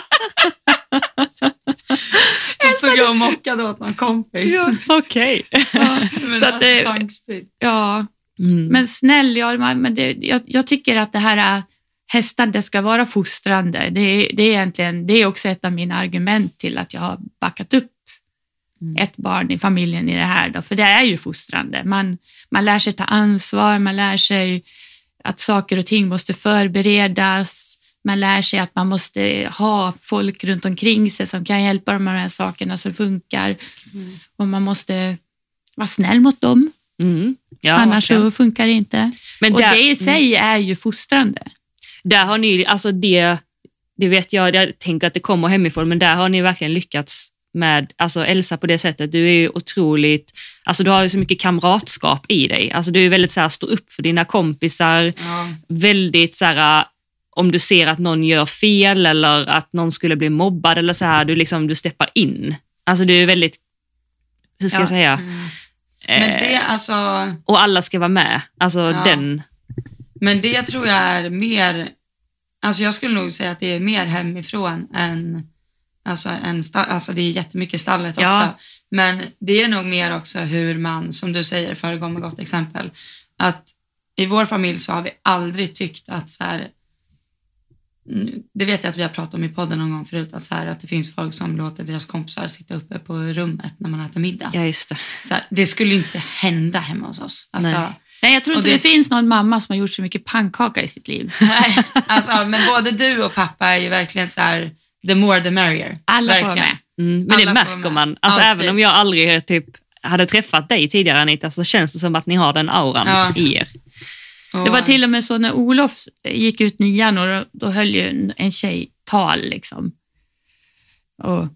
S3: Då stod jag och mockade åt någon kompis.
S2: Okej.
S1: Ja,
S3: Men
S1: så att det-
S3: alltså, tanksprid.
S1: ja.
S2: Mm.
S1: men snäll, ja, man- men det, jag, jag tycker att det här äh, hästar, det ska vara fostrande. Det, är- det, är egentligen, det är också ett av mina argument till att jag har backat upp
S2: Mm.
S1: ett barn i familjen i det här. Då, för det är ju fostrande. Man, man lär sig ta ansvar, man lär sig att saker och ting måste förberedas. Man lär sig att man måste ha folk runt omkring sig som kan hjälpa dem med de här sakerna så det funkar. Och man måste vara snäll mot dem,
S2: Mm. Ja,
S1: annars så
S2: verkligen.
S1: funkar det inte.
S2: Men
S1: och
S2: där- mm.
S1: det i sig är ju fostrande.
S2: Där har ni, alltså det, det vet jag, jag tänker att det kommer hemifrån, men där har ni verkligen lyckats med alltså Elsa på det sättet. Du är ju otroligt, alltså du har ju så mycket kamratskap i dig. Alltså du är väldigt så här, står upp för dina kompisar,
S3: Ja.
S2: väldigt så här, äh, om du ser att någon gör fel eller att någon skulle bli mobbad eller så här, du liksom, du steppar in. Alltså du är väldigt, hur ska
S1: Ja. Mm.
S2: jag säga,
S3: Men
S2: eh,
S3: det, alltså,
S2: och alla ska vara med. Alltså
S3: Ja.
S2: den,
S3: men det tror jag är mer, alltså jag skulle nog säga att det är mer hemifrån än, alltså, än stall, alltså det är jättemycket stallet
S1: Ja.
S3: också. Men det är nog mer också hur man, som du säger, föregår med gott exempel. Att i vår familj så har vi aldrig tyckt att så här, Mm, det vet jag att vi har pratat om i podden någon gång förut, att, så här, att det finns folk som låter deras kompisar sitta uppe på rummet när man äter middag.
S2: ja just det.
S3: Så här, det skulle inte hända hemma hos oss. Alltså,
S2: Nej.
S1: Nej, jag tror
S3: Och
S1: inte det...
S3: det-
S1: finns någon mamma som har gjort så mycket pannkaka i sitt liv.
S3: Nej, alltså, men både du och pappa är ju verkligen så här, the more the merrier.
S1: Alla får
S3: verkligen.
S1: vara med.
S2: Mm, men
S3: Alla
S2: det
S3: får
S2: märker
S3: med.
S2: man. Alltså,
S3: Alltid.
S2: även om jag aldrig är typ hade träffat dig tidigare Anita så känns det som att ni har den auran
S3: Ja.
S2: i er.
S1: Det var till och med så när Olof gick ut nian och då, då höll ju en, en tjej tal liksom. Och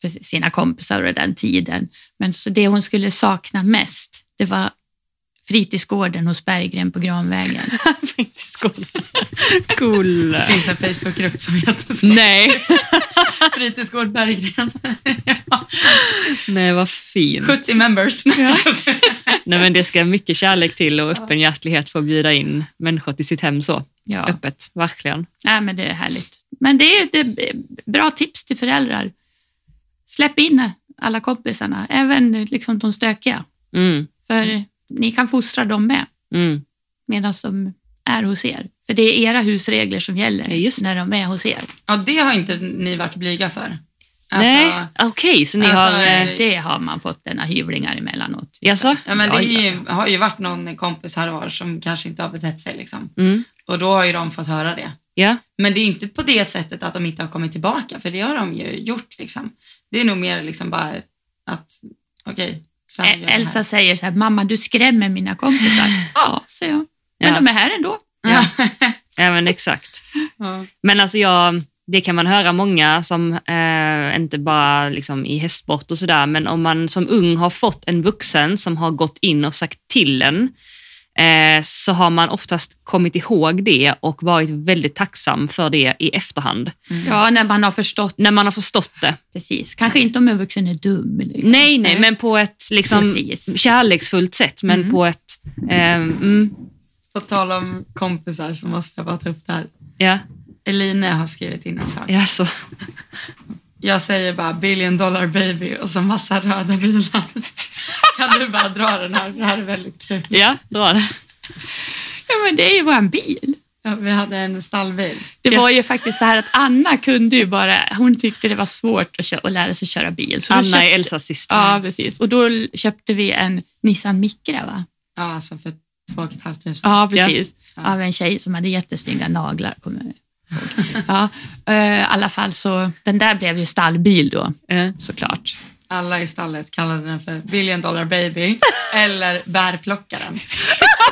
S1: för sina kompisar och den tiden. Men så det hon skulle sakna mest, det var fritidsgården hos Berggren på Granvägen.
S2: Fritidsgården. Cool.
S3: Det finns en Facebookgrupp som heter så.
S2: Nej.
S3: Fritidsgård Berggren.
S2: Nej, vad fint.
S3: 70 members.
S2: Nej, men det ska mycket kärlek till och öppenhjärtlighet för att bjuda in människor till sitt hem så.
S1: Ja,
S2: Öppet, verkligen.
S1: Nej, men det är härligt. Men det är, det är bra tips till föräldrar. Släpp in alla kompisarna, även liksom de stökiga.
S2: Mm,
S1: För ni kan fostra dem med.
S2: mm.
S1: medan de är hos er. För det är era husregler som gäller
S2: Ja, just det.
S1: när de är hos er.
S3: Ja, det har inte ni varit blyga för. Alltså,
S2: Nej, okej, så ni
S3: alltså,
S2: har... Eh,
S3: eh,
S1: Det har man fått denna hyvlingar emellanåt.
S2: jaså?
S3: Ja, men det
S1: Ja,
S3: är
S1: ja,
S3: ju, har ju varit någon kompis här och var som kanske inte har betett sig. Liksom.
S2: Mm,
S3: Och då har ju de fått höra det.
S2: ja.
S3: Men det är inte på det sättet att de inte har kommit tillbaka, för det har de ju gjort. Liksom. Det är nog mer liksom bara att, okej, sen gör
S1: Ä-
S3: vi det här.
S1: Eh, Elsa säger så här, mamma du skrämmer mina kompisar. ja, säger jag. Men
S2: Ja.
S1: de är här ändå.
S2: Ja. ja, men exakt.
S3: Ja.
S2: Men alltså jag, det kan man höra många som, eh, inte bara liksom i hästsport och sådär, men om man som ung har fått en vuxen som har gått in och sagt till en, eh, så har man oftast kommit ihåg det och varit väldigt tacksam för det i efterhand.
S1: Ja, när man har förstått.
S2: När man har förstått det.
S1: Precis. Kanske inte om en vuxen är dum. Liksom.
S2: Nej, nej, men på ett liksom,
S1: Precis. Mm.
S2: kärleksfullt sätt, men på ett... Eh, mm,
S3: På tal om kompisar så måste jag bara ta upp det här.
S2: ja,
S3: Eline har skrivit in en sak.
S2: ja, så.
S3: Jag säger bara billion dollar baby och så massa röda bilar. Kan du bara dra den här? För det här är väldigt kul.
S2: ja dra det.
S1: Ja, men det är ju vår bil.
S3: Ja, vi hade en stallbil.
S1: Det
S2: Ja.
S1: var ju faktiskt så här att Anna kunde ju bara, hon tyckte det var svårt att, kö- att lära sig köra bil. Så då
S2: Anna är
S1: köpte-
S2: Elsas syster.
S1: Ja, precis. Och då l- köpte vi en Nissan Micra, va?
S3: Ja, alltså för två och ett halvt tusen.
S1: Ja, precis. Av en tjej som hade jättesnygga naglar, kommer jag ihåg. Ja, eh, I alla fall så, den där blev ju stallbil då,
S2: Eh.
S1: såklart.
S3: Alla i stallet kallade den för billion dollar baby eller bärplockaren.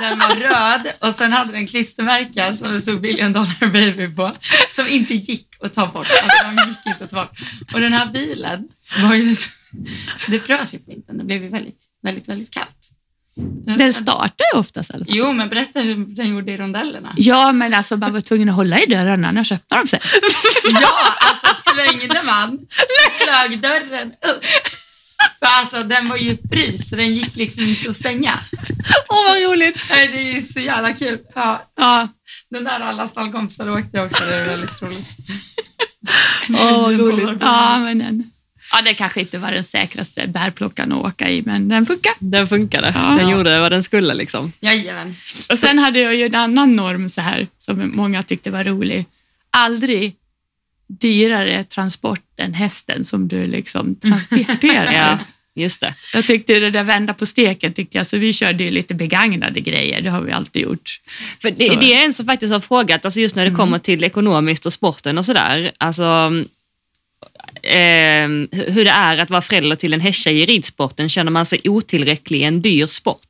S3: Den var röd och sen hade den klistermärken som det stod billion dollar baby på som inte gick att ta bort. Alltså de gick inte att ta bort. Och den här bilen var ju... så- Det frös ju på vintern. Det blev ju väldigt, väldigt, väldigt kallt.
S1: Den startar ju oftast i alla fall.
S3: Jo, men berätta hur den gjorde i rondellerna.
S1: Ja, men alltså man var tvungen att hålla i dörren annars öppnar de sig.
S3: Ja, alltså svängde man flög dörren upp. För alltså den var ju frys så den gick liksom inte att stänga.
S1: Åh, vad roligt!
S3: Nej, det är ju så jävla kul. Ja,
S1: Ja,
S3: den där alla stallkompisar åkte också. Det är väldigt roligt.
S2: Åh, vad roligt.
S1: ja men den... Ja, det kanske inte var den säkraste bärplockaren att åka i, men den funkar.
S2: Den funkade.
S1: Ja.
S2: Den gjorde vad den skulle. Liksom.
S3: Jajamän.
S1: Och sen hade jag ju en annan norm så här, som många tyckte var rolig. Aldrig dyrare transport än hästen som du liksom transporterar.
S2: Ja, just det.
S1: Jag tyckte det där vända på steken tyckte jag, så vi körde ju lite begagnade grejer, det har vi alltid gjort.
S2: För
S1: Så. Mm.
S2: det, det är en som faktiskt har frågat, alltså just när det kommer till ekonomiskt och sporten och sådär, alltså, ehm, hu- hur det är att vara förälder till en hästtjej i ridsporten. Känner man sig otillräcklig i en dyr sport?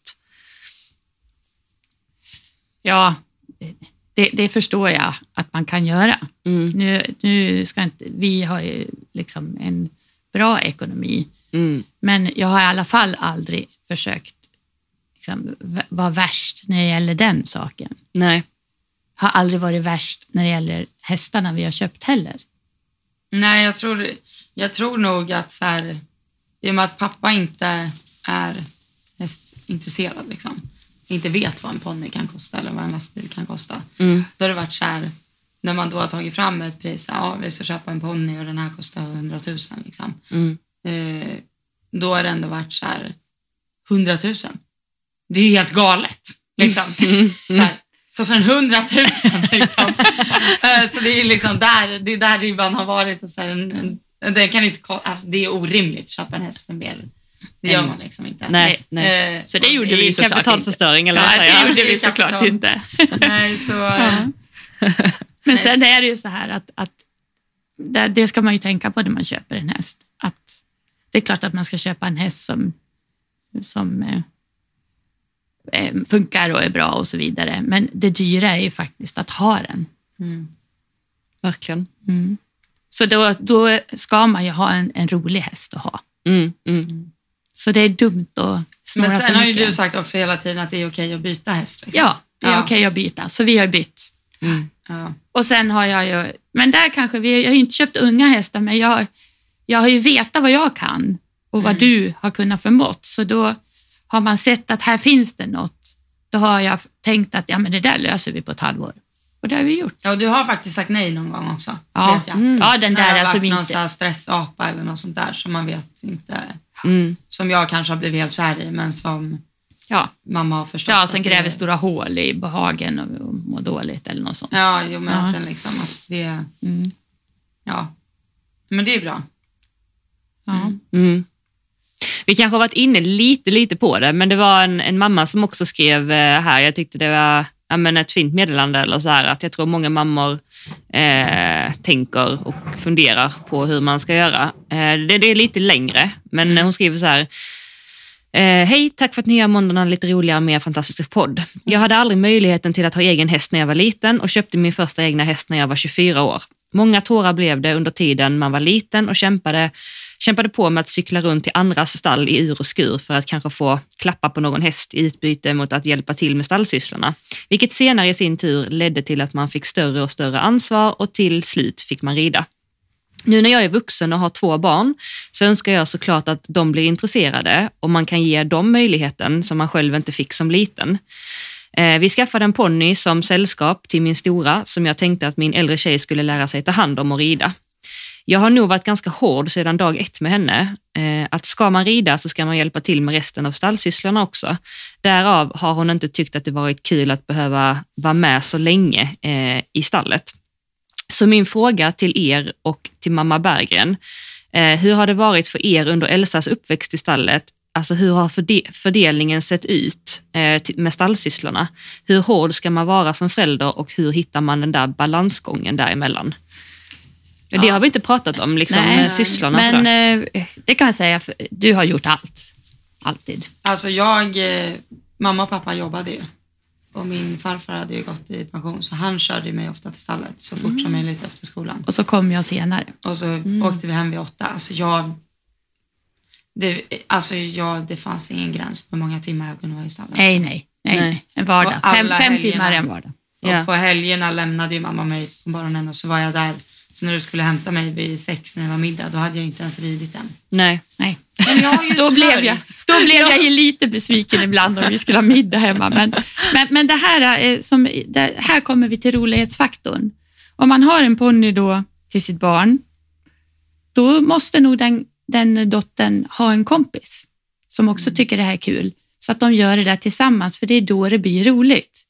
S1: Ja, det, det förstår jag att man kan göra.
S2: Mm.
S1: Nu, nu ska inte, vi har ju liksom en bra ekonomi,
S2: Mm.
S1: men jag har i alla fall aldrig försökt liksom, v- vara värst när det gäller den saken.
S2: Nej.
S1: Har aldrig varit värst när det gäller hästarna vi har köpt heller.
S3: Nej, jag tror, jag tror nog att så här, i och med att pappa inte är hästintresserad, liksom, inte vet vad en ponny kan kosta eller vad en lastbil kan kosta,
S2: Mm.
S3: då har det varit så här, när man då har tagit fram ett pris, ja vi ska köpa en ponny och den här kostar 100 000, liksom.
S2: Mm.
S3: eh, då har det ändå varit så här, 100 000. Det är ju helt galet. Liksom.
S1: Mm.
S3: Så här, kostar den 100 000? Liksom. Eh, så det är ju liksom där, det är där ribban har varit. Och så här, en, en, den kan inte, ko- alltså, det är orimligt att köpa en häst för en bel. Det gör man liksom inte.
S2: Nej, nej.
S3: Eh,
S1: Mm. Så det gjorde
S2: I
S1: vi såklart inte.
S2: Kapitalförstöring eller
S1: Nej,
S2: vad
S1: det
S2: säger
S1: gjorde vi
S3: Ja.
S1: såklart inte.
S3: nej, så, eh,
S1: Men sen är det ju så här att, att det, det ska man ju tänka på när man köper en häst. Att det är klart att man ska köpa en häst som som eh, eh, funkar och är bra och så vidare. Men det dyra är ju faktiskt att ha den.
S2: Verkligen.
S1: Mm. Så då, då ska man ju ha en, en rolig häst att ha.
S2: Mm, mm.
S1: Så det är dumt att snurra
S3: Men sen
S1: för
S3: har ju
S1: mycket.
S3: du sagt också hela tiden att det är okej att byta häst. Liksom.
S1: Ja, det är
S3: Ja.
S1: okej att byta. Så vi har bytt.
S3: Ja.
S1: Och sen har jag ju, men där kanske, vi, jag har ju inte köpt unga hästar, men jag, jag har ju vetat vad jag kan och vad du har kunnat förmått. Så då har man sett att här finns det något. Då har jag tänkt att ja, men det där löser vi på ett halvår. Och det har vi gjort.
S3: ja, och du har faktiskt sagt nej någon gång också.
S1: Ja,
S3: vet jag.
S1: mm. ja den
S3: När det
S1: där
S3: har
S1: är som
S3: varit någon
S1: inte...
S3: så här stressapa eller något sånt där som man vet inte,
S2: Mm.
S3: som jag kanske har blivit helt kär i men som
S1: ja,
S3: mamma har förstått.
S1: ja,
S3: att
S1: som
S3: det-
S1: gräver stora hål i behagen och, och mår dåligt eller något sånt.
S3: Ja, jo men
S1: Ja.
S3: att den liksom att det,
S1: Mm.
S3: ja. Men det är bra.
S1: Ja.
S2: Mm. Vi kanske har varit inne lite, lite på det, men det var en, en mamma som också skrev eh, här, jag tyckte det var ja, men ett fint meddelande, eller så här, att jag tror många mammor eh, tänker och funderar på hur man ska göra. Eh, det, det är lite längre, men hon skriver så här, Eh, Hej, tack för att ni gör måndagarna lite roligare med er fantastiska podd. Jag hade aldrig möjligheten till att ha egen häst när jag var liten och köpte min första egna häst när jag var 24 år. Många tårar blev det under tiden man var liten och kämpade, kämpade på med att cykla runt till andras stall i ur och skur för att kanske få klappa på någon häst i utbyte mot att hjälpa till med stallsysslorna. Vilket senare i sin tur ledde till att man fick större och större ansvar och till slut fick man rida. Nu när jag är vuxen och har två barn så önskar jag såklart att de blir intresserade och man kan ge dem möjligheten som man själv inte fick som liten. Eh, Vi skaffade en ponny som sällskap till min stora som jag tänkte att min äldre tjej skulle lära sig ta hand om och rida. Jag har nog varit ganska hård sedan dag ett med henne. Eh, Att ska man rida så ska man hjälpa till med resten av stallsysslorna också. Därav har hon inte tyckt att det varit kul att behöva vara med så länge eh, i stallet. Så min fråga till er och till mamma Berggren, eh, hur har det varit för er under Elsas uppväxt i stallet? Alltså hur har förde- fördelningen sett ut eh, till- med stallsysslorna? Hur hård ska man vara som förälder och hur hittar man den där balansgången däremellan? Det
S1: Ja.
S2: har vi inte pratat om, liksom,
S1: Nej,
S2: eh, sysslorna. och sådär.
S1: Men eh, det kan jag säga, för du har gjort allt. Alltid.
S3: Alltså jag, eh, mamma och pappa jobbade ju och min farfar hade ju gått i pension så han körde ju mig ofta till stallet så fort
S1: Mm.
S3: som möjligt efter skolan.
S1: Och så kom jag senare.
S3: Och så
S1: Mm.
S3: åkte vi hem vid åtta. Alltså jag, det, alltså jag, det fanns ingen gräns på hur många timmar jag kunde vara i stallet.
S1: Nej, nej, nej.
S2: Nej.
S1: En vardag.
S3: Och alla
S1: Fem, fem
S3: helgerna.
S1: timmar en vardag.
S3: Och
S2: Ja.
S3: på helgerna lämnade ju mamma mig på morgonen och så var jag där. Så när du skulle hämta mig vid sex när det var middag, då hade jag inte ens ridit än.
S2: Nej.
S1: Nej.
S3: Men jag har ju
S1: Då blev, jag,
S3: smörjt.
S1: då blev jag ju lite besviken ibland om vi skulle ha middag hemma. Men, men, men det här, är som, det, här kommer vi till rolighetsfaktorn. Om man har en ponny då till sitt barn, då måste nog den, den dottern ha en kompis som också
S3: Mm.
S1: tycker det här är kul, så att de gör det där tillsammans, för det är då det blir roligt.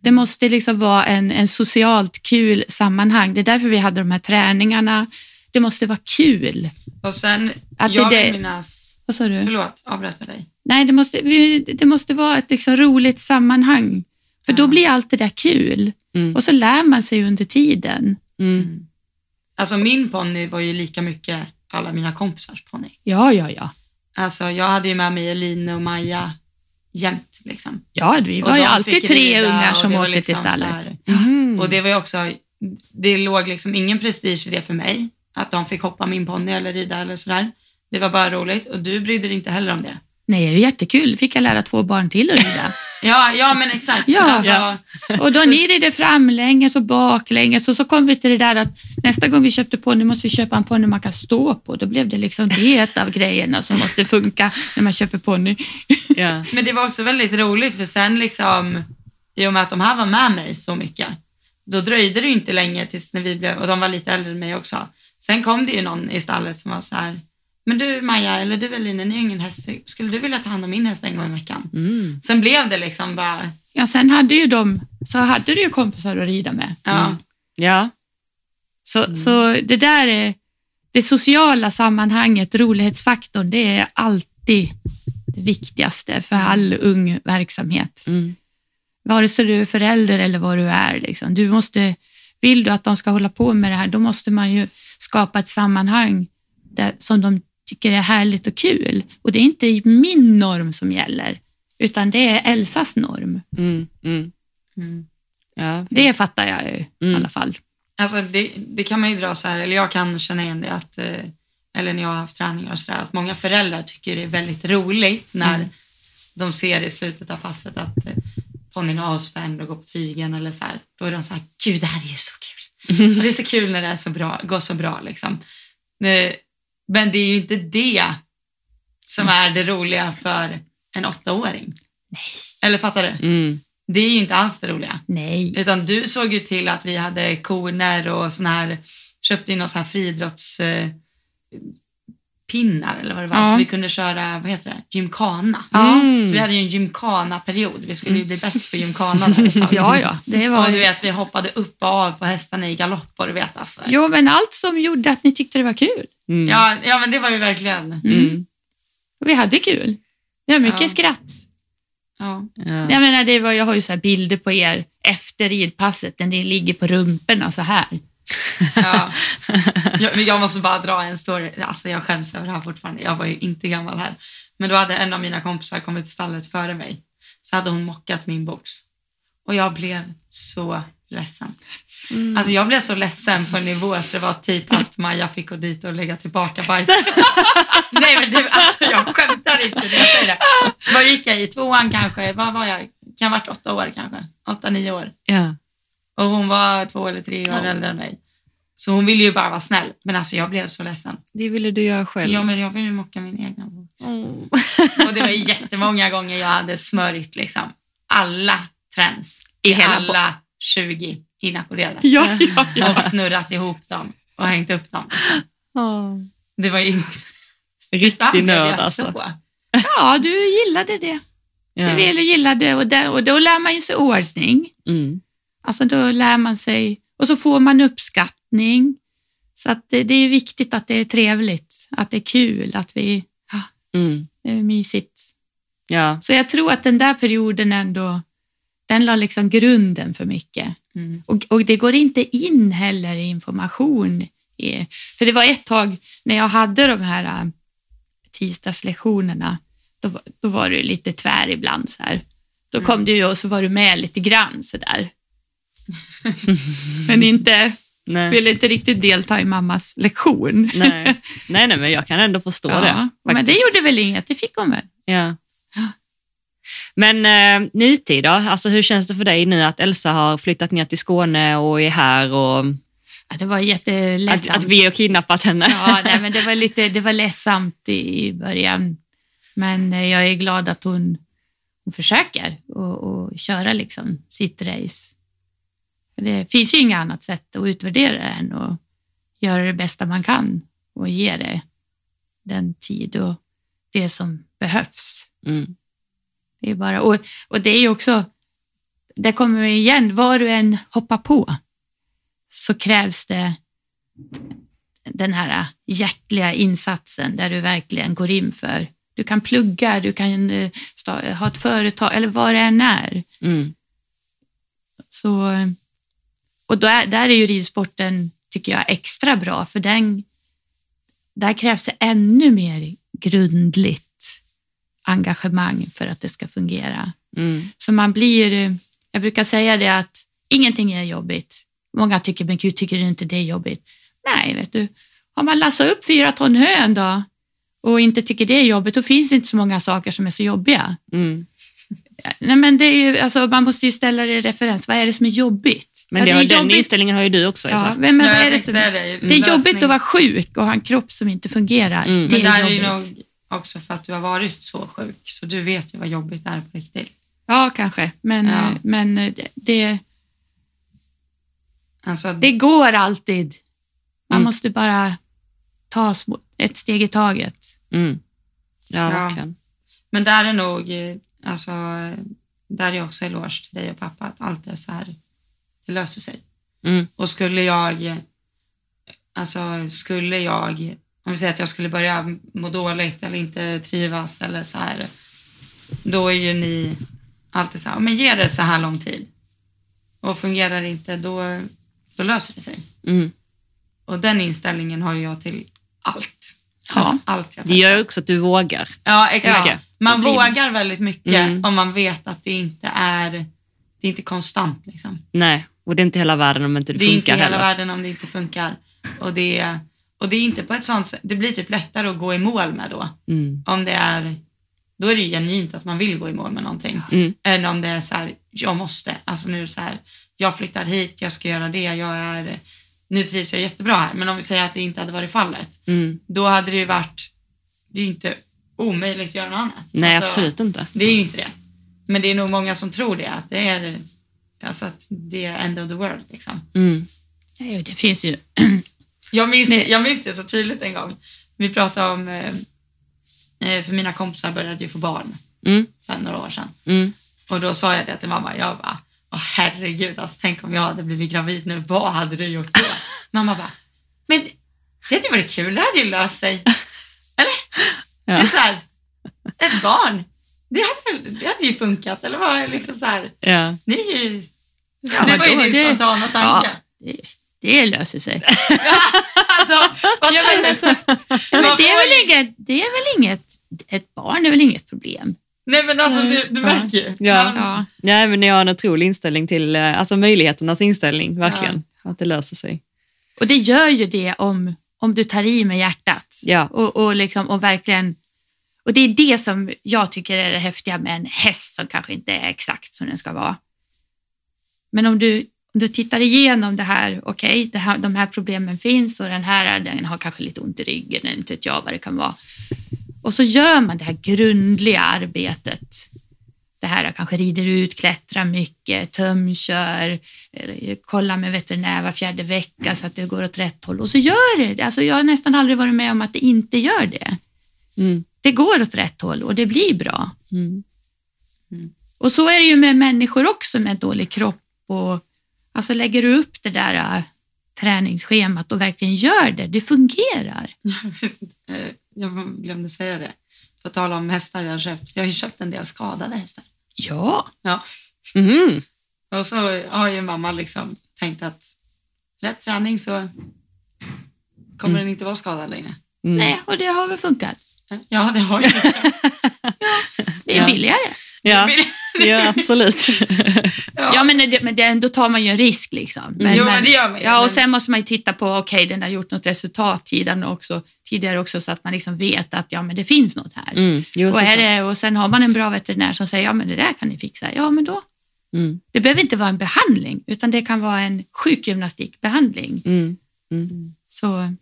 S1: Det måste liksom vara en, en socialt kul sammanhang. Det är därför vi hade de här träningarna. Det måste vara kul.
S3: Och sen,
S1: Att
S3: jag
S1: det-
S3: vill minnas...
S1: Vad sa du?
S3: Förlåt, avbröt jag dig?
S1: Nej, det måste, vi- det måste vara ett liksom roligt sammanhang. För då
S3: Ja.
S1: blir allt det där kul.
S2: Mm.
S1: Och så lär man sig under tiden.
S2: Mm.
S3: Alltså min ponny var ju lika mycket alla mina kompisars ponny.
S1: Ja, ja, ja.
S3: Alltså jag hade ju med mig Eline och Maja jämt liksom.
S1: Ja, vi
S3: Och
S1: var ju
S3: de
S1: alltid
S3: fick
S1: tre
S3: rida
S1: ungar
S3: och
S1: som
S3: det var
S1: åkte till
S3: liksom så
S1: stallet.
S3: här.
S2: Mhm.
S3: Och det var ju också, det låg liksom ingen prestige i det för mig, att de fick hoppa min ponny eller rida eller sådär. Det var bara roligt och du brydde dig inte heller om det.
S1: Nej, det är jättekul. Fick jag lära två barn till att rida.
S3: Ja, ja men exakt.
S1: Ja.
S3: Alltså,
S2: Ja.
S1: Och då ni ridde framlänges och baklänges och så kom vi till det där att nästa gång vi köpte ponny måste vi köpa en ponny man kan stå på. Då blev det liksom det ett av grejerna som måste funka när man köper ponny.
S2: Ja.
S3: Men det var också väldigt roligt för sen liksom, i och med att de här var med mig så mycket, då dröjde det ju inte länge tills när vi blev, och de var lite äldre än mig också. Sen kom det ju någon i stallet som var så här, men du Maja, eller du Eline, ni har ingen häst, skulle du vilja ta hand om min häst en gång i veckan?
S2: Mm.
S3: Sen blev det liksom bara,
S1: Ja, sen hade ju de, så hade du ju kompisar att rida med.
S3: ja.
S2: ja.
S1: Så, så det där är det sociala sammanhanget, rolighetsfaktorn, det är alltid det viktigaste för all ung verksamhet.
S2: Mm.
S1: Vare sig du är förälder eller vad du är. Liksom. Du måste, vill du att de ska hålla på med det här, då måste man ju skapa ett sammanhang där, som de tycker det är härligt och kul. Och det är inte min norm som gäller, utan det är Elsas norm.
S2: Mm, mm.
S3: Mm.
S2: Ja.
S1: Det fattar jag ju i
S2: Mm.
S1: alla fall.
S3: Alltså det, det kan man ju dra så här, eller jag kan känna igen det att, eh, eller när jag har haft träningar och så där, att många föräldrar tycker det är väldigt roligt när de ser i slutet av passet att eh, ponnyn är avspänd och går på tygen eller så här. Då är de så här, gud det här är ju så kul. Och det är så kul när det är så bra, går så bra liksom. Eh, Men det är ju inte det som är det roliga för en åttaåring.
S1: Nej.
S3: Eller fattar du?
S2: Mm.
S3: Det är ju inte alls det roliga.
S1: Nej.
S3: Utan du såg ju till att vi hade koner och sån här, köpte in någon sån här friidrottspinnar eh, pinnar eller vad det var,
S1: Ja.
S3: så vi kunde köra, vad heter det, gymkana.
S1: Ja.
S2: Mm.
S3: Så vi hade ju en gymkana-period, vi skulle ju bli bäst på gymkana där ett tag.
S1: Ja, ja. Det var
S3: Och
S1: ju...
S3: du vet, vi hoppade upp och av på hästarna i galopp och du vet alltså.
S1: Jo, men allt som gjorde att ni tyckte det var kul.
S2: Mm.
S3: Ja, ja, men det var ju verkligen,
S2: Mm.
S1: Och vi hade kul. Det var mycket
S3: Ja.
S1: skratt.
S3: ja.
S2: Ja.
S1: Jag, menar, det var, jag har ju så här bilder på er efter ridpasset, när ni ligger på rumporna så här.
S3: Ja. Jag, men jag måste bara dra en story. Alltså jag skäms över det här fortfarande. Jag var ju inte gammal här. Men då hade en av mina kompisar kommit till stallet före mig. Så hade hon mockat min box. Och jag blev så ledsen. Alltså jag blev så ledsen på en nivå så det var typ att Maja fick gå dit och lägga tillbaka bajset. Nej men du, alltså jag skämtar inte när jag säger det. Vad gick jag i? Tvåan kanske? Vad var jag? Kan jag ha varit åtta år kanske? Åtta, nio år.
S2: Ja.
S3: Och hon var två eller tre år äldre än mig. Så hon ville ju bara vara snäll. Men alltså jag blev så ledsen.
S2: Det ville du göra själv.
S3: Ja, men jag ville ju mocka min egna bok.
S2: Mm.
S3: Och det var ju jättemånga gånger jag hade smörjt liksom alla trends.
S1: I
S3: I
S1: hela bo-
S3: alla 20 inackorderade.
S1: Ja, ja,
S3: Och snurrat ihop dem och hängt upp dem.
S2: Oh.
S3: Det var ju inte...
S2: Riktig
S3: Fan, blev
S2: nörd
S3: jag
S2: alltså.
S3: så.
S1: ja, du gillade det. Du
S2: Ja.
S1: ville gilla det och, där, och då lär man ju sig ordning.
S2: Mm.
S1: Alltså då lär man sig och så får man uppskattning. Så att det, det är viktigt att det är trevligt, att det är kul, att vi,
S2: Mm.
S1: det är mysigt.
S2: Ja.
S1: Så jag tror att den där perioden ändå, den la liksom grunden för mycket.
S3: Mm.
S1: Och, och det går inte in heller i information. I, för det var ett tag när jag hade de här äh, tisdagslektionerna, då, var- då var du lite tvär ibland. Så här. Då kom
S2: Mm.
S1: du ju och så var du med lite grann så där. Men inte,
S2: Nej.
S1: ville inte riktigt delta i mammas lektion.
S2: Nej. nej, nej, men jag kan ändå förstå
S1: Ja,
S2: det.
S1: men det
S2: faktiskt.
S1: gjorde väl inget, det fick hon väl.
S2: Ja. Men eh, nutid då? Alltså, hur känns det för dig nu att Elsa har flyttat ner till Skåne och är här och
S1: Ja, det var
S2: att,
S1: jätteledsamt.
S2: att vi har kidnappat henne?
S1: Ja, nej, men det var lite det var ledsamt i i början. Men eh, jag är glad att hon, hon försöker och, och köra liksom sitt race. Det finns ju inget annat sätt att utvärdera det än att göra det bästa man kan och ge det den tid och det som behövs.
S2: Mm.
S1: Det är bara, och, och det är ju också, där kommer vi igen, vad du än hoppar på så krävs det den här hjärtliga insatsen där du verkligen går in för. Du kan plugga, du kan eh, sta- ha ett företag eller vad det än är.
S2: Mm.
S1: Så, eh, och då är, där är ju ridsporten, tycker jag, extra bra för den, där krävs det ännu mer grundligt engagemang för att det ska fungera.
S2: Mm.
S1: Så man blir, eh, jag brukar säga det att ingenting är jobbigt. Många tycker, men gud, tycker du inte det är jobbigt? Nej, vet du, har man lassat upp fyra ton hö en dag och inte tycker det är jobbigt, då finns det inte så många saker som är så jobbiga.
S2: Mm.
S1: Nej, men det är ju, alltså, man måste ju ställa det i referens. Vad är det som är jobbigt?
S2: Men
S1: Ja,
S2: det,
S1: är
S2: har- liksom. den
S1: jobbigt-
S2: inställningen har ju du också,
S1: ja,
S2: Elsa.
S1: men, men
S3: Ja,
S1: vad
S3: jag
S1: är det,
S3: tänkte
S1: som,
S3: säga det.
S1: det är jobbigt att vara
S3: Lösnings-
S1: sjuk och ha en kropp som inte fungerar. Det
S2: Mm.
S3: Men
S1: är
S3: där är
S1: jobbigt.
S3: ju nog också för att du har varit så sjuk, så du vet ju vad jobbigt det är på riktigt.
S1: Ja, kanske. Men,
S3: Ja.
S1: eh, men eh, det- det,
S3: Alltså,
S1: Det går alltid. Man
S2: Mm.
S1: måste bara ta små, ett steg i taget.
S2: Mm. Ja,
S3: Ja.
S2: verkligen.
S3: Men där är nog, eh, alltså, eh, där är också eloge till dig och pappa att allt är så här, det löser sig.
S2: Mm.
S3: Och skulle jag, eh, alltså skulle jag, om vi säger att jag skulle börja må dåligt eller inte trivas eller så här, då är ju ni alltid så här, men ge det så här lång tid. Och fungerar det inte, då, då löser det sig.
S2: Mm.
S3: Och den inställningen har ju jag till allt. Alltså, allt jag
S2: Det gör ju också att du vågar.
S3: Ja, exakt.
S2: Ja.
S3: Man
S2: Det blir-
S3: vågar väldigt mycket
S2: Mm.
S3: om man vet att det inte är, det är inte konstant. Liksom.
S2: Nej, och det är inte hela världen om inte det,
S3: Det är inte
S2: funkar
S3: hela
S2: heller.
S3: världen om det inte funkar. Och det, är- och det är inte på ett sånt sätt, det blir typ lättare att gå i mål med då.
S2: Mm.
S3: Om det är, då är det ju genuint att man vill gå i mål med någonting.
S2: Mm.
S3: Än om det är så här, jag måste, alltså nu är det så här, jag flyttar hit, jag ska göra det, jag är, nu trivs jag jättebra här. Men om vi säger att det inte hade varit fallet,
S2: Mm.
S3: då hade det ju varit, det är ju inte omöjligt att göra något annat.
S2: Nej,
S3: Alltså,
S2: absolut inte.
S3: Det är ju inte det. Men det är nog många som tror det, att det är, alltså att det är end of the world. Liksom.
S2: Mm.
S1: Nej, och Det finns ju...
S3: Jag, minns,
S1: Nej.
S3: jag minns det så tydligt en gång. Vi pratade om, eh, eh, för mina kompisar började ju få barn
S2: Mm.
S3: för några år sedan.
S2: Mm.
S3: Och då sa jag det till mamma, jag bara, Åh, herregud, alltså, tänk om jag hade blivit gravid nu, vad hade du gjort då? mamma bara, men det hade ju varit kul, det hade ju löst sig.
S2: Ja.
S3: Det är så här, ett barn, det hade, väl- det hade ju funkat, eller vad? är Liksom så här,
S2: Ja.
S3: det är ju,
S1: Ja,
S3: det var ju
S1: vadå,
S3: din
S1: det-
S3: spontana
S1: Ja,
S3: tanke.
S1: det, det löser sig.
S3: Alltså, vad
S1: Ja, men alltså, Men det, är väl inget, det är väl inget... Ett barn är väl inget problem?
S3: Nej men alltså du, du
S2: Ja.
S3: märker ju.
S2: Ja.
S3: Man-
S1: Ja.
S2: Nej, men jag har en otrolig inställning till eh, alltså möjligheternas inställning, verkligen. Att det löser sig.
S1: Och det gör ju det om, om du tar i med hjärtat.
S2: Ja.
S1: Och, och, liksom, och verkligen... Och det är det som jag tycker är det häftiga med en häst som kanske inte är exakt som den ska vara. Men om du, om du tittar igenom det här, okej, det här, de här problemen finns och den här är- den har kanske lite ont i ryggen, eller inte vet jag vad det kan vara. Och så gör man det här grundliga arbetet. Det här jag kanske rider ut, klättrar mycket, tömkör, eller kollar med veterinär var fjärde vecka så att det går åt rätt håll. Och så gör det det. Alltså jag har nästan aldrig varit med om att det inte gör det.
S2: Mm.
S1: Det går åt rätt håll och det blir bra. Mm.
S2: Mm.
S1: Och så är det ju med människor också med dålig kropp. Och, alltså lägger du upp det där äh, träningsschemat och verkligen gör det, det fungerar.
S3: Eh, Jag glömde säga det. På tal om hästar jag har köpt. Jag har ju köpt en del skadade hästar.
S1: Ja,
S3: Ja.
S2: Mhm.
S3: Och så har ju mamma liksom tänkt att rätt träning så
S1: Mm.
S3: kommer den inte vara skadad längre.
S2: Mm.
S1: nej, och det har väl funkat.
S3: Ja, det har ju
S1: Det är
S2: Ja.
S1: billigare.
S2: Ja. ja, absolut.
S1: Ja, men, det, men det, då tar man ju en risk liksom. Men,
S3: Jo, men det gör man ju.
S1: Ja,
S3: Men-
S1: och sen måste man ju titta på, okej, den har gjort något resultat tidigare också, tidigare också så att man liksom vet att ja, men det finns något här.
S2: Mm. Jo,
S1: Och, är
S2: såklart.
S1: det, och sen har man en bra veterinär som säger, ja men det där kan ni fixa. Ja, men då.
S2: Mm.
S1: Det behöver inte vara en behandling, utan det kan vara en sjukgymnastikbehandling.
S2: Mm.
S1: Så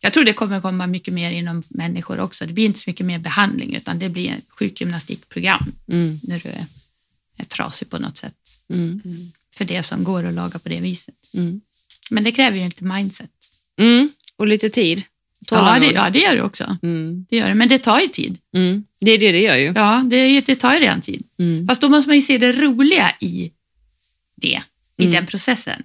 S1: jag tror det kommer komma mycket mer inom människor också. Det blir inte så mycket mer behandling, utan det blir ett sjukgymnastikprogram
S2: Mm.
S1: när du är, är trasig på något sätt.
S2: Mm.
S1: För det som går att laga på det viset.
S2: Mm.
S1: Men det kräver ju inte mindset.
S2: Mm. Och lite tid.
S1: Ja det,
S2: Tålamod.
S1: ja, det gör det också.
S2: Mm.
S1: Det gör det. Men det tar ju tid.
S2: Mm. Det är det det gör ju.
S1: Ja, det, det tar ju redan tid.
S2: Mm.
S1: Fast då måste man ju se det roliga i det, i
S2: Mm.
S1: den processen.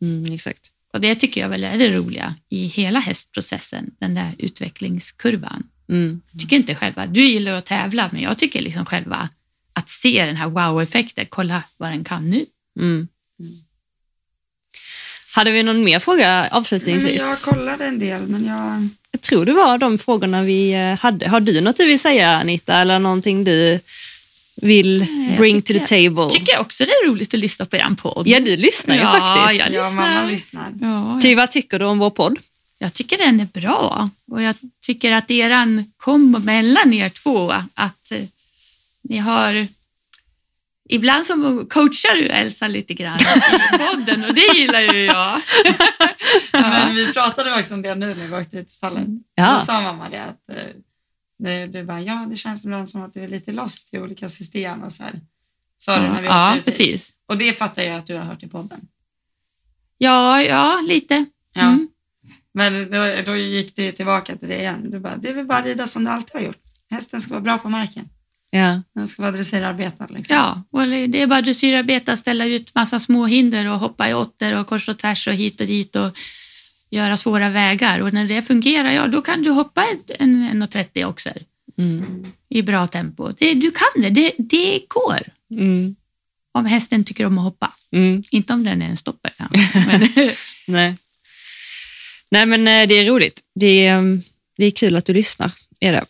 S2: Mm. Exakt.
S1: Och det tycker jag väl är det roliga i hela hästprocessen, den där utvecklingskurvan.
S2: Mm.
S1: Jag tycker inte själva, du gillar att tävla, men jag tycker liksom själva att se den här wow-effekten, kolla vad den kan nu.
S2: Mm. Hade vi någon mer fråga avslutningsvis?
S3: kollade en del, men jag...
S2: Jag tror det var de frågorna vi eh, hade. Har du något du vill säga Anita eller någonting du vill
S1: Eh, jag
S2: bring to the
S1: tycker
S2: table?
S1: Tycker jag också det är roligt att lyssna på er podd.
S2: Ja, du lyssnar ju
S1: Ja,
S2: faktiskt.
S1: jag lyssnar.
S3: lyssnar.
S1: Ja,
S2: Ty, vad tycker du om vår podd?
S1: Jag tycker den är bra och jag tycker att eran kombo mellan er två, att eh, ni har Ibland så coachar du Elsa lite grann i podden och det gillar ju jag.
S3: Men vi pratade faktiskt om det nu när vi åkte ut i stallet.
S2: Ja.
S3: Då sa mamma det att eh, det, det, bara, ja, det känns ibland som att du är lite lost i olika system och så här. Sa du när vi åkte
S1: Ja,
S3: ut hit.
S1: precis.
S3: Och det fattar jag att du har hört i podden.
S1: Ja, ja, lite.
S3: Ja.
S1: Mm.
S3: Men då, då gick det ju tillbaka till det igen. Du bara, det är väl bara rida som du alltid har gjort. Hästen ska vara bra på marken.
S2: Ja.
S3: Den ska vara dressyrarbetad. Liksom.
S1: Ja, och det är bara dressyrarbeta, ställa ut massa små hinder och hoppa i åttor och kors och tvärs och hit och dit och göra svåra vägar. Och när det fungerar, ja då kan du hoppa ett- en 1,30 också
S2: Mm.
S1: i bra tempo. Det, du kan det. det, det går.
S2: Mm.
S1: om hästen tycker om att hoppa.
S2: Mm.
S1: Inte om den är en stopper kanske. Men,
S2: Nej. Nej, men eh, det är roligt. Det är, eh, Det är kul att du lyssnar, är det.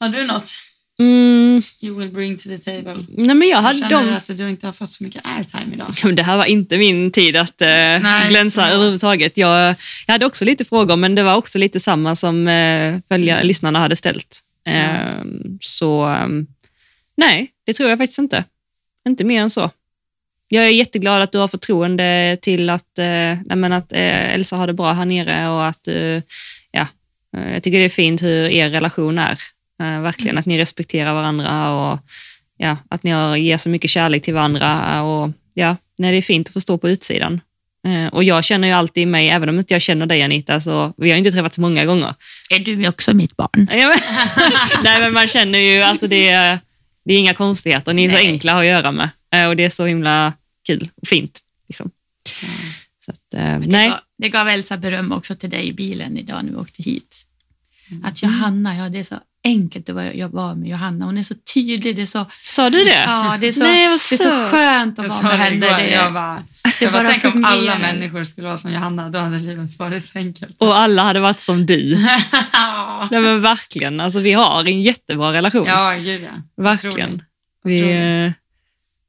S3: Har du något
S2: Mm,
S3: you will bring to the table?
S2: nej men jag
S3: Jag
S2: hade
S3: känner
S2: dem.
S3: att du inte har fått så mycket airtime idag.
S2: Ja, men Det här var inte min tid att eh, glänsa
S3: ja.
S2: överhuvudtaget. Jag, jag hade också lite frågor, men det var också lite samma som eh, följa, lyssnarna hade ställt. Eh, Så eh, nej, det tror jag faktiskt inte. Inte mer än så. Jag är jätteglad att du har förtroende till att, eh, nej, men att eh, Elsa har det bra här nere och att eh, ja, eh, jag tycker det är fint hur er relation är. Eh, verkligen att ni respekterar varandra och ja, att ni har, ger så mycket kärlek till varandra. Och, ja, nej, det är fint att få stå på utsidan. Eh, och jag känner ju alltid mig, även om inte jag känner dig Anita, så vi har ju inte träffats många gånger.
S1: Är du också mitt barn?
S2: Ja, men- nej, men man känner ju, alltså det är, det är inga konstigheter, ni är så
S1: Nej.
S2: enkla att göra med. Eh, och det är så himla kul och fint. Liksom. Så att, eh,
S1: Det
S2: nej.
S1: gav, det gav Elsa beröm också till dig i bilen idag när vi åkte hit.
S3: Mm.
S1: Att Johanna, ja det är så enkelt att vara- jag var med Johanna. Hon är så tydlig, det är så,
S2: Sa du det?
S1: ja, det är så,
S2: Nej,
S1: det
S2: vad
S1: är så
S2: sött.
S1: skönt att vara med henne.
S3: igår,
S1: Det
S3: jag
S1: är,
S3: bara,
S1: det
S3: jag bara,
S1: bara
S3: tänk om alla
S1: fungerar."
S3: människor skulle vara som Johanna, då hade livet varit så enkelt.
S2: Och alla hade varit som du. Nej men verkligen, alltså, vi har en jättebra relation.
S3: ja, gud ja.
S2: Verkligen.
S3: Otroligt.
S2: Vi, eh,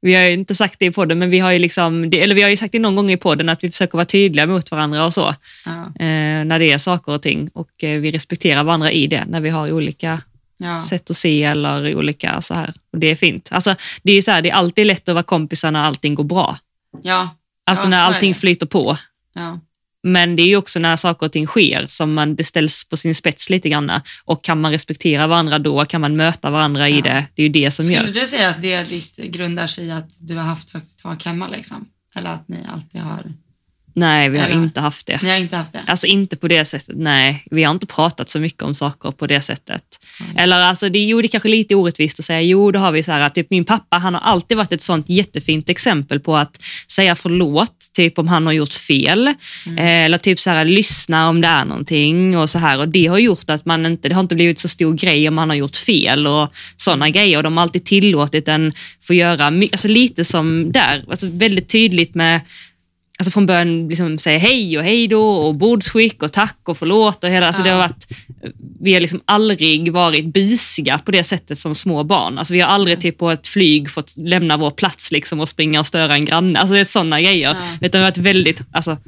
S2: vi har ju inte sagt det i podden, men vi har ju liksom, det- eller vi har ju sagt det någon gång i podden att vi försöker vara tydliga mot varandra och så, eh,
S3: Ja,
S2: när det är saker och ting. Och eh, vi respekterar varandra i det, när vi har olika
S3: ja.
S2: sätt att se eller olika så här. Och det är fint. Alltså, det är ju så här, det är alltid lätt att vara kompisar när allting går bra.
S3: ja.
S2: Alltså
S3: Ja,
S2: när
S3: så är
S2: allting
S3: det.
S2: flyter på.
S3: ja.
S2: Men det är ju också när saker och ting sker som man, det ställs på sin spets lite grann. Och kan man respektera varandra då, kan man möta varandra i
S3: Ja.
S2: det, det är ju det som gör.
S3: Skulle du säga att det ditt grundar sig i att du har haft högt i tak hemma? Liksom? Eller att ni alltid har...
S2: Nej, vi har
S3: Eller?
S2: inte haft det.
S3: Ni har inte haft det?
S2: Alltså inte på det sättet, nej. Vi har inte pratat så mycket om saker på det sättet. Eller alltså, det, jo, det är kanske lite orättvist att säga, jo, då har vi så här att typ min pappa, han har alltid varit ett sånt jättefint exempel på att säga förlåt, typ om han har gjort fel. Eh, Eller typ så här, lyssna om det är någonting och så här. Och det har gjort att man inte, det har inte blivit så stor grej om man har gjort fel och sådana grejer. Och de har alltid tillåtit en få göra, my- alltså lite som där, alltså väldigt tydligt med alltså från början liksom säga hej och hej då och bordsskick och tack och förlåt och hela, alltså
S3: Ja.
S2: det har varit, vi har liksom aldrig varit busiga på det sättet som små barn. Alltså vi har aldrig typ på ett flyg fått lämna vår plats liksom och springa och störa en granne, alltså det är sådana grejer.
S3: Ja.
S2: Utan vi har varit väldigt, alltså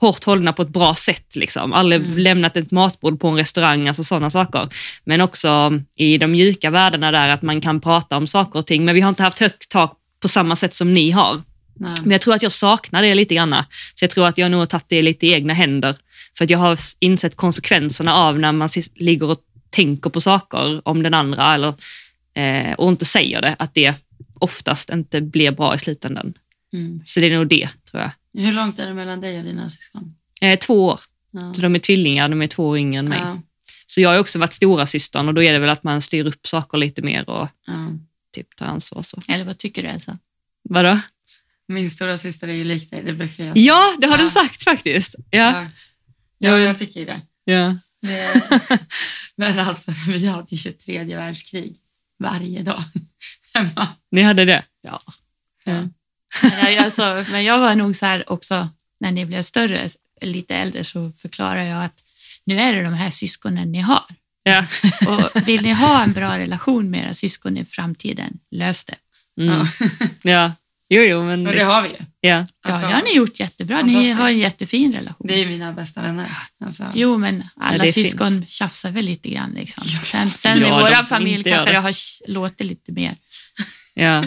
S2: hårt hållna på ett bra sätt. Liksom. Aldrig lämnat ett matbord på en restaurang, alltså sådana saker. Men också i de mjuka värdena där, att man kan prata om saker och ting, men vi har inte haft högt tak på samma sätt som ni har.
S3: Nej.
S2: Mm. Men jag tror att jag saknar det lite grann. Så jag tror att jag nog har tagit det lite i egna händer. För att jag har s- insett konsekvenserna av när man sis- ligger och tänker på saker om den andra eller, eh, och inte säger det, att det oftast inte blir bra i slutändan.
S3: Mm.
S2: Så det är nog det, tror jag.
S3: Hur långt är det mellan dig och dina syskon?
S2: Eh, två år,
S3: Ja.
S2: så de är tvillingar, de är två år yngre än mig.
S3: Ja.
S2: Så jag har ju också varit stora systern och då är det väl att man styr upp saker lite mer och
S3: Ja.
S2: typ tar ansvar. Så.
S1: Eller vad tycker du Elsa?
S2: Vadå?
S3: Min stora syster är ju lik dig, det brukar jag säga.
S2: Ja, det har
S3: Ja.
S2: du sagt faktiskt. Ja.
S3: Ja. ja, jag tycker det.
S2: Ja.
S3: det. Men alltså, vi hade ju tredje världskrig varje dag hemma.
S2: Ni hade det? Ja.
S1: Men jag, alltså, men jag var nog så här också, när ni blev större, lite äldre, så förklarade jag att nu är det de här syskonen ni har.
S2: ja.
S1: Och vill ni ha en bra relation med era syskon i framtiden, lös det.
S2: Mm.
S3: Ja.
S2: Ja, jo, jo, men...
S3: Och det har vi ju.
S2: ja.
S1: Ja,
S3: Alltså,
S1: det har ni gjort jättebra. Ni
S3: fantastiskt.
S1: har en jättefin relation.
S3: Det är mina bästa vänner. Alltså,
S1: Jo, men alla
S2: Ja, det är
S1: syskon tjafsar väl lite grann. Liksom. Sen, sen
S2: Ja,
S1: i
S2: de
S1: vår
S2: som
S1: familj
S2: inte gör
S1: kanske
S2: det.
S1: det har sh- låtit lite mer.
S2: Ja.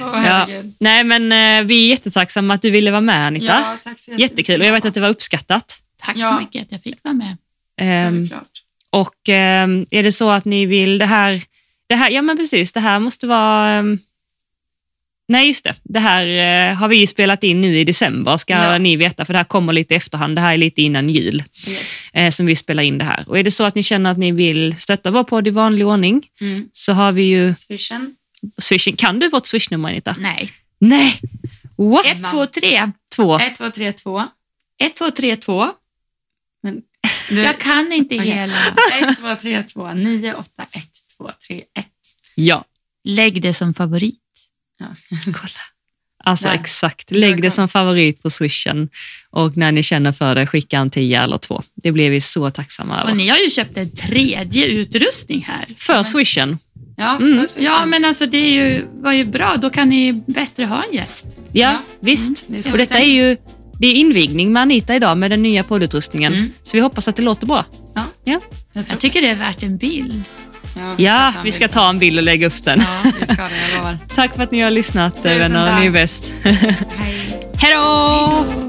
S3: Åh,
S2: Ja.
S3: herregud.
S2: Nej, men eh, vi är jättetacksamma att du ville vara med, Anita.
S3: Ja, tack så jättemycket.
S2: Jättekul och jag vet att det var uppskattat.
S1: Tack
S3: Ja.
S1: så mycket att jag fick vara med.
S2: Ehm,
S3: Självklart.
S2: och ehm, är det så att ni vill det här, det här, ja men precis, det här måste vara, ehm, nej just det, det här eh, har vi ju spelat in nu i december ska
S3: Ja.
S2: ni veta, för det här kommer lite i efterhand, det här är lite innan jul.
S3: Yes.
S2: eh, som vi spelar in det här. Och är det så att ni känner att ni vill stötta vår podd i vanlig ordning
S3: Mm.
S2: så har vi ju
S3: Swishen.
S2: swishen. Kan du vårt swishnummer Anita?
S1: Nej.
S2: Nej! What?
S1: 1, 2, 3.
S2: Två.
S3: 1, 2, 3, 2.
S1: 1, 2, 3, 2.
S3: Men,
S1: Jag kan inte
S3: Okej.
S1: hela.
S3: 1, 2, 3, 2, 9, 8, 1, 2, 3, 1.
S2: Ja.
S1: Lägg det som favorit.
S2: Kolla. Alltså
S3: Där.
S2: exakt. Lägg det som favorit på swishen och när ni känner för det, skicka en tia eller två. Det blir vi så tacksamma
S1: Och
S2: över.
S1: ni har ju köpt en tredje utrustning här.
S2: För swishen.
S3: Ja,
S2: Mm.
S3: puss, puss.
S1: Ja, men alltså det är ju, var ju bra. Då kan ni bättre ha en gäst.
S2: Ja,
S3: Ja.
S2: visst.
S3: Mm, det är så
S2: och detta är ju det är invigning med Anita idag med den nya poddutrustningen.
S1: Mm.
S2: Så vi hoppas att det låter bra.
S3: Ja.
S2: Ja.
S3: Jag tror,
S1: Jag tycker det är värt en bild.
S2: ja,
S3: ta en
S2: vi ska
S3: bild.
S2: ta en bild och lägga upp den.
S3: Ja, vi ska det, jag lovar.
S2: Tack för att ni har lyssnat
S3: Tusen
S2: vänner, ni är
S3: tack.
S2: bäst.
S1: Hej.
S2: Hej då!
S1: Hej då.